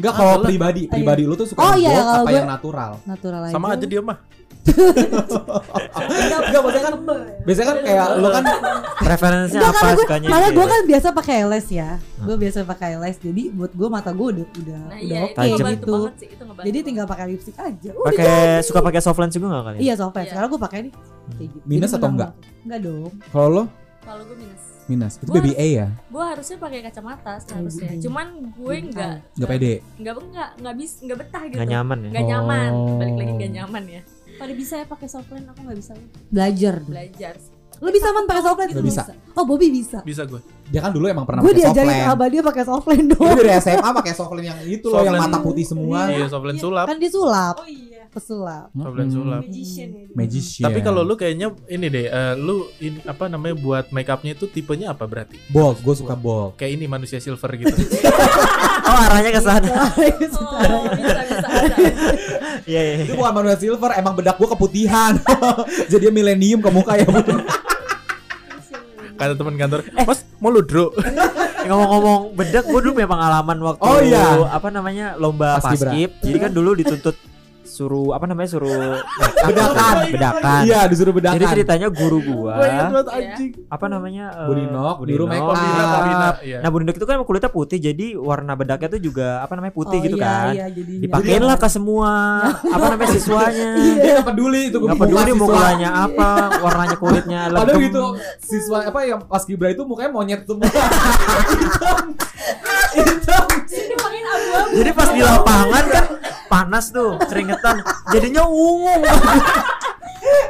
S2: Enggak
S4: Ah,
S2: kalau
S4: boleh.
S2: pribadi, pribadi lu tuh suka
S3: Oh, iya,
S2: yang bold
S3: kalau
S2: apa
S3: gue-
S2: yang natural? <laughs>
S3: Natural aja.
S4: Sama aja dia mah.
S2: Enggak, enggak maksudnya kan biasanya kan kayak lu kan
S5: Referensinya
S3: Enggak,
S5: apa
S3: karena gue,
S5: sukanya
S3: karena
S5: gitu
S3: gue
S5: ya.
S3: kan biasa pakai les ya. Gue biasa pakai les. Jadi buat gue mata gue udah udah udah
S6: nah iya
S3: oke
S6: itu
S5: tajam.
S6: ngebantu
S3: gitu.
S6: banget sih itu ngebantu
S3: Jadi
S6: banget.
S3: tinggal pakai lipstick aja. Udah
S5: Pakai suka pakai soft lens juga enggak kali? ya?
S3: Iya soft lens.
S6: Iya.
S3: Sekarang gue pakai nih. Kayak gitu.
S2: Hmm. Minus
S3: Jadi
S2: atau
S3: menang
S2: enggak?
S3: banget. Enggak dong.
S2: kalau lo
S6: kalau gue minus
S2: minus. Itu
S6: Gua
S2: BBA ya,
S6: gue harusnya pakai kacamata seharusnya
S3: Aduh.
S6: cuman gue nggak
S2: enggak pede.
S6: nggak nggak nggak bis nggak betah gitu
S5: Enggak nyaman ya.
S6: Nggak nyaman
S2: Oh.
S6: balik lagi nggak nyaman ya
S7: Pada bisa ya pakai soft lens, aku nggak bisa.
S3: Belajar. dong.
S6: belajar
S3: Lo bisa man pakai soft lens?
S2: Nggak bisa.
S3: Oh Bobby bisa.
S4: Bisa gue.
S2: Dia kan dulu emang pernah
S3: Gue
S2: pakai soft
S3: diajarin
S2: lens.
S3: abah dia pakai soft
S2: <laughs>
S3: lens
S2: Dia
S3: doang.
S2: dari SMA pakai soft lens yang itu loh,
S4: Soft
S2: yang
S4: lens.
S2: mata putih semua.
S4: Iya, soft lens sulap.
S3: Kan dia sulap.
S7: Oh iya,
S3: Pesulap.
S4: Soft lens sulap.
S7: magician ya. dia.
S2: Magician.
S4: Tapi kalau lu kayaknya ini deh, eh, lu ini apa namanya buat make upnya itu tipenya apa berarti?
S2: bold, gue suka bold.
S4: Kayak ini manusia silver gitu.
S5: Oh, arahnya ke sana.
S6: oh bisa bisa bisa
S2: <laughs>
S5: Iya, iya.
S2: Itu bukan manual silver, emang bedak gue keputihan. <laughs> Jadi dia milenium ke muka ya.
S7: Magician ya.
S4: Kata teman kantor, "Mas, mau lu dro?"
S5: Ngomong-ngomong bedak, gue dulu punya pengalaman waktu
S2: Oh, iya.
S5: apa namanya lomba
S2: Paskibra.
S5: paskib. Jadi kan dulu dituntut suruh apa namanya
S2: <laughs>
S5: suruh
S2: Bedakan.
S5: bedakan.
S2: Iya, disuruh bedakan. Iya.
S5: Jadi ceritanya guru gua
S4: banget
S6: anjing.
S5: apa namanya eh,
S2: Budinok, biru
S5: Budinok.
S2: make up.
S4: Kombina, iya.
S5: Nah Budinok itu kan emang kulitnya putih jadi warna bedaknya tuh juga apa namanya
S3: Oh,
S5: putih gitu
S3: iya,
S5: kan.
S3: Iya, jadinya.
S5: Dipakein lah ke semua apa namanya siswanya.
S2: Dia gak Iya, peduli itu
S5: Gak
S2: muka
S5: peduli
S2: siswa.
S5: mukanya apa, warnanya kulitnya
S2: Padahal
S5: legem.
S2: gitu siswa apa yang pas Gibra itu mukanya monyet semua. <laughs> Hitam. Hitam.
S7: Dia pakein abu-abu.
S5: Jadi pas di lapangan kan panas tuh, keringetan, jadinya ungu.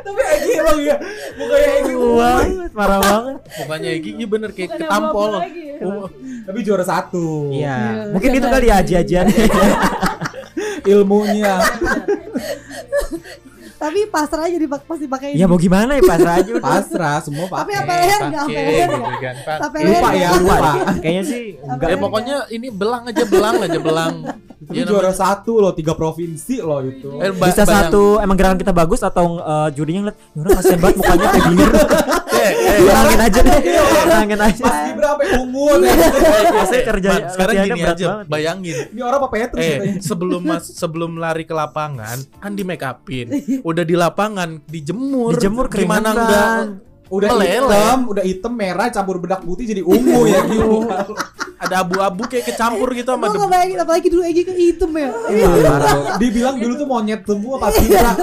S2: Tapi Egi emang ya mukanya Egi
S5: Ungu banget, parah banget.
S4: Mukanya Egi iya bener kayak
S7: Bukan
S4: ketampol.
S7: abu-abu lagi ya.
S4: Oh,
S2: tapi juara satu.
S5: Iya,
S3: Iya,
S5: mungkin itu kali ya ajian
S2: Ilmunya.
S3: Tapi pasrah aja dipak pasti pakai.
S2: Iya,
S5: Ya mau gimana ya pasrah aja udah.
S2: Pasrah semua
S3: Tapi
S2: pakai.
S3: apa leher enggak apa
S4: pakai
S3: leher
S4: gitu
S3: enggak?
S4: kan.
S3: Sampai
S4: Pakai.
S3: leher
S2: Lupa ya, lupa.
S5: Kayaknya sih enggak.
S4: Ya pokoknya ini belang aja belang aja belang.
S2: Tapi
S4: Ya,
S2: juara satu loh, tiga provinsi loh itu.
S4: namanya- eh, ba-
S5: bisa
S4: bayang-
S5: satu emang gerakan kita bagus atau eh, jurinya ngeliat "Ya orang kasihan banget mukanya kayak gini
S4: Eh,
S5: <laughs>
S4: eh,
S5: kurangin aja deh kurangin aja
S2: Pas Gibra sampai ungu. deh.
S4: Iya.
S5: Maksudnya kerja
S4: Man, eh, sekarang
S5: latihannya
S4: gini
S5: berat
S4: aja,
S5: banget.
S4: bayangin.
S2: Ini orang apa Petrus katanya.
S4: Eh, sebelum mas, sebelum lari ke lapangan, kan di make upin. Udah di lapangan, dijemur.
S5: dijemur
S4: Gimana
S5: keringetan
S4: enggak?
S2: Udah
S4: meleleh.
S2: hitam, udah hitam merah campur bedak putih jadi ungu ya gitu.
S4: Ada abu-abu kayak kecampur gitu sama
S3: Gue
S4: debu.
S3: ngebayangin apalagi dulu Egi ke hitam ya.
S2: Iya, Dibilang dulu tuh monyet semua pas Gibra.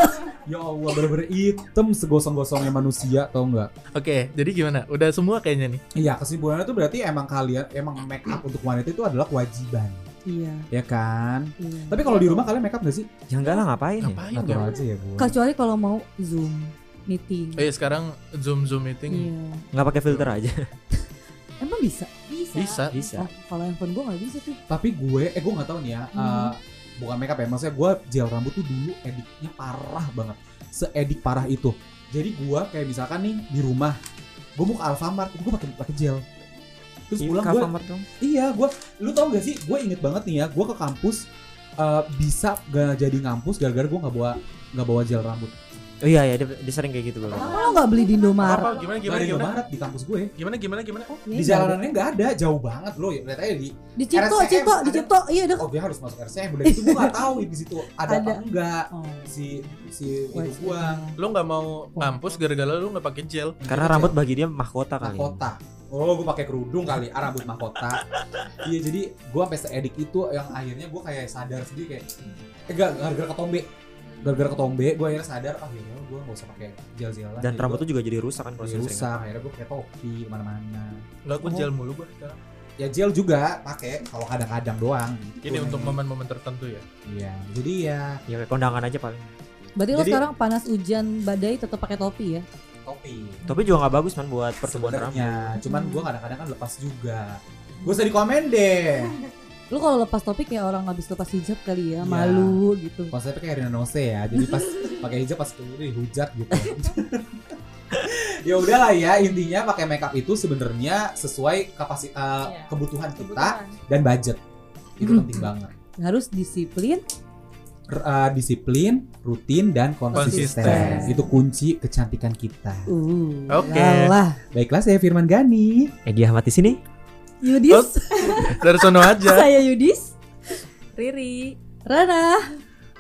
S2: Ya Allah, bener-bener hitam segosong-gosongnya manusia tau nggak?
S4: Oke, jadi gimana? Udah semua kayaknya nih.
S2: Iya kesimpulannya tuh berarti emang kalian emang make up untuk wanita itu adalah kewajiban
S3: Iya,
S2: ya kan.
S3: iya.
S2: Tapi kalau di rumah kalian make up nggak sih?
S5: ya enggak lah ngapain ya
S4: Ngapain ya?
S2: Natural aja ya bu.
S3: Kecuali kalau mau Zoom meeting.
S4: Eh, sekarang Zoom Zoom meeting
S3: Iya.
S5: nggak pakai filter aja
S3: Emang bisa? Bisa.
S4: bisa.
S5: bisa
S3: Oh, kalau handphone gue gak bisa tuh.
S2: Tapi gue, eh gue nggak tahu nih ya. eh,
S3: Hmm.
S2: bukan make up ya, maksudnya gue gel rambut tuh dulu ediknya parah banget. Seedik parah itu. Jadi gue kayak misalkan nih di rumah, gue mau ke Alfamart, gue pakai pakai gel. Terus pulang gue
S5: dong
S2: Iya, gua lu tau gak sih? Gue inget banget nih ya, gua ke kampus eh, bisa gak jadi ngampus gara-gara gua nggak bawa nggak bawa gel rambut.
S5: oh iya ya dia, dia sering kayak gitu banget
S3: Kenapa lo gak beli di Indomaret?
S4: Apa gimana gimana
S2: Gimana di
S4: gimana?
S2: Indomaret di kampus gue.
S4: Gimana gimana gimana?
S3: Oh, iya.
S2: Di jalanannya nggak ada, jauh banget loh. Ya, lihat aja di.
S3: Di Cipto,
S2: RSCM,
S3: Cipto, di
S2: ada.
S3: Cipto. Iya dong.
S2: Oh, dia harus masuk RCM. Udah gitu gue nggak tahu di situ ada,
S3: Ada.
S2: apa enggak
S3: Oh.
S2: si si
S3: Wah,
S2: itu gua
S4: Lu nggak mau ngampus gara-gara lu nggak pakai gel.
S5: karena rambut bagi dia mahkota kali
S2: mahkota. Oh, gue pakai kerudung kali, ah, rambut mahkota. iya, jadi gue sampai seedik itu yang akhirnya gue kayak sadar sendiri kayak eh gak gara-gara ketombe. Gara-gara ketombe, gue akhirnya sadar ah ya gue gak usah pakai gel-gelan.
S5: dan rambut tuh juga jadi Iya, rusak kan kalau
S2: gue
S5: sering
S2: rusak, akhirnya gue pakai topi kemana-mana.
S4: Enggak aku
S2: Oh.
S4: gel mulu gua sekarang.
S2: Ya gel juga pakai kalau kadang-kadang doang. gitu.
S4: Ini untuk momen-momen tertentu ya.
S2: Iya, jadi ya
S5: ya kayak kondangan aja paling
S3: Berarti lo
S2: Jadi-
S3: sekarang panas hujan badai tetap pakai topi ya?
S2: topi.
S5: tapi juga nggak bagus man buat pertumbuhan rambut
S2: Sebenarnya, cuman gue kadang-kadang kan lepas juga. Gue usah di komen deh.
S3: Lu kalau lepas topik kayak orang habis lepas hijab kali ya, malu gitu.
S2: Konsepnya kayak Rina Nose ya. Jadi
S6: <laughs>
S2: pas pakai hijab pas keluar dihujat gitu. <laughs> ya udahlah ya intinya pakai makeup itu sebenarnya sesuai kapasitas
S6: Iya.
S2: kebutuhan kita
S6: kebutuhan. Hmm.
S2: dan budget. Itu penting banget.
S3: Harus disiplin.
S2: R- uh, disiplin, rutin dan konsisten.
S3: Konsisten.
S2: Itu kunci kecantikan kita.
S3: Uh,
S4: Oke.
S3: Lalah.
S2: Baiklah saya Firman Gani.
S5: Egi Ahmad di sini.
S3: Yudis,
S4: Dari sono aja.
S3: <laughs>
S5: <laughs>
S3: saya Yudis.
S6: Riri
S3: Rana.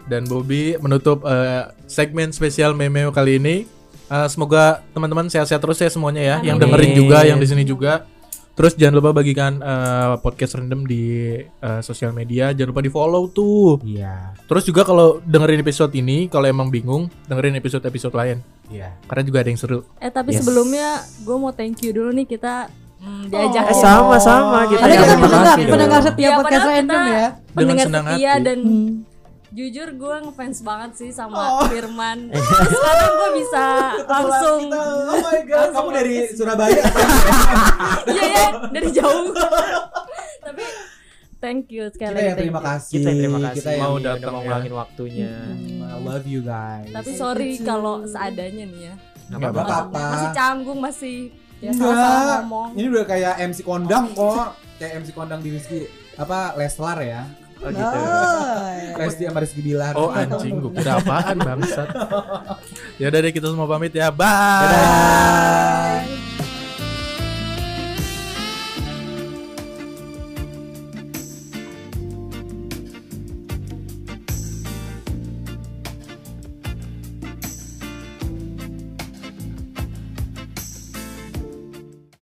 S4: Dan Bobby menutup eh, segmen spesial Memeo kali ini. Eh, semoga teman-teman sehat-sehat terus ya semuanya ya. Yang
S5: Amin.
S4: dengerin juga, yang di sini juga. Terus jangan lupa bagikan eh, podcast random di eh, sosial media. Jangan lupa di follow tuh.
S2: Iya.
S4: Terus juga kalau dengerin episode ini, kalau emang bingung, dengerin episode-episode lain.
S2: Iya.
S4: Karena juga ada yang seru.
S6: eh tapi
S5: Yes.
S6: sebelumnya gue mau thank you dulu nih kita mm, diajak
S5: Eh sama-sama kita.
S3: Ada
S5: juga
S3: kita
S5: terima
S3: pendengar,
S5: kasih dong.
S3: Iya, pendengar setiap
S6: Ya,
S3: podcast
S6: padahal
S3: random
S6: kita-
S3: ya.
S4: Dengan
S6: pendengar
S4: senang
S6: setia
S4: hati.
S6: dan
S3: Hmm.
S6: jujur gue ngefans banget sih sama Firman sekarang gue bisa langsung
S2: Kita, oh my god, kamu
S6: Langsung
S2: dari
S6: podcast.
S2: Surabaya.
S6: iya ya dari jauh tapi thank you sekali
S2: kita
S6: lagi
S2: yang
S6: thank
S2: ya, terima
S6: you.
S2: kasih.
S5: Kita yang terima kasih
S2: Kita yang
S4: Mau
S5: udah
S4: datang
S5: mau
S4: ya.
S5: ngulangin waktunya.
S2: I love you guys.
S6: tapi sorry kalau seadanya nih ya
S5: Nggak
S4: Nggak
S2: Gak
S5: apa-apa.
S2: apa-apa.
S6: masih canggung masih ya
S2: Enggak.
S6: salah ngomong Oh, iya.
S2: Ini udah kayak MC kondang kok. Kayak MC kondang di Rizky apa Leslar ya?
S3: tá
S5: Oh gitu.
S2: Lesti sama Rizky Bilar.
S4: Oh anjing, gue kira apaan bangsat. Ya udah deh kita semua pamit ya. Bye.
S2: Dadah.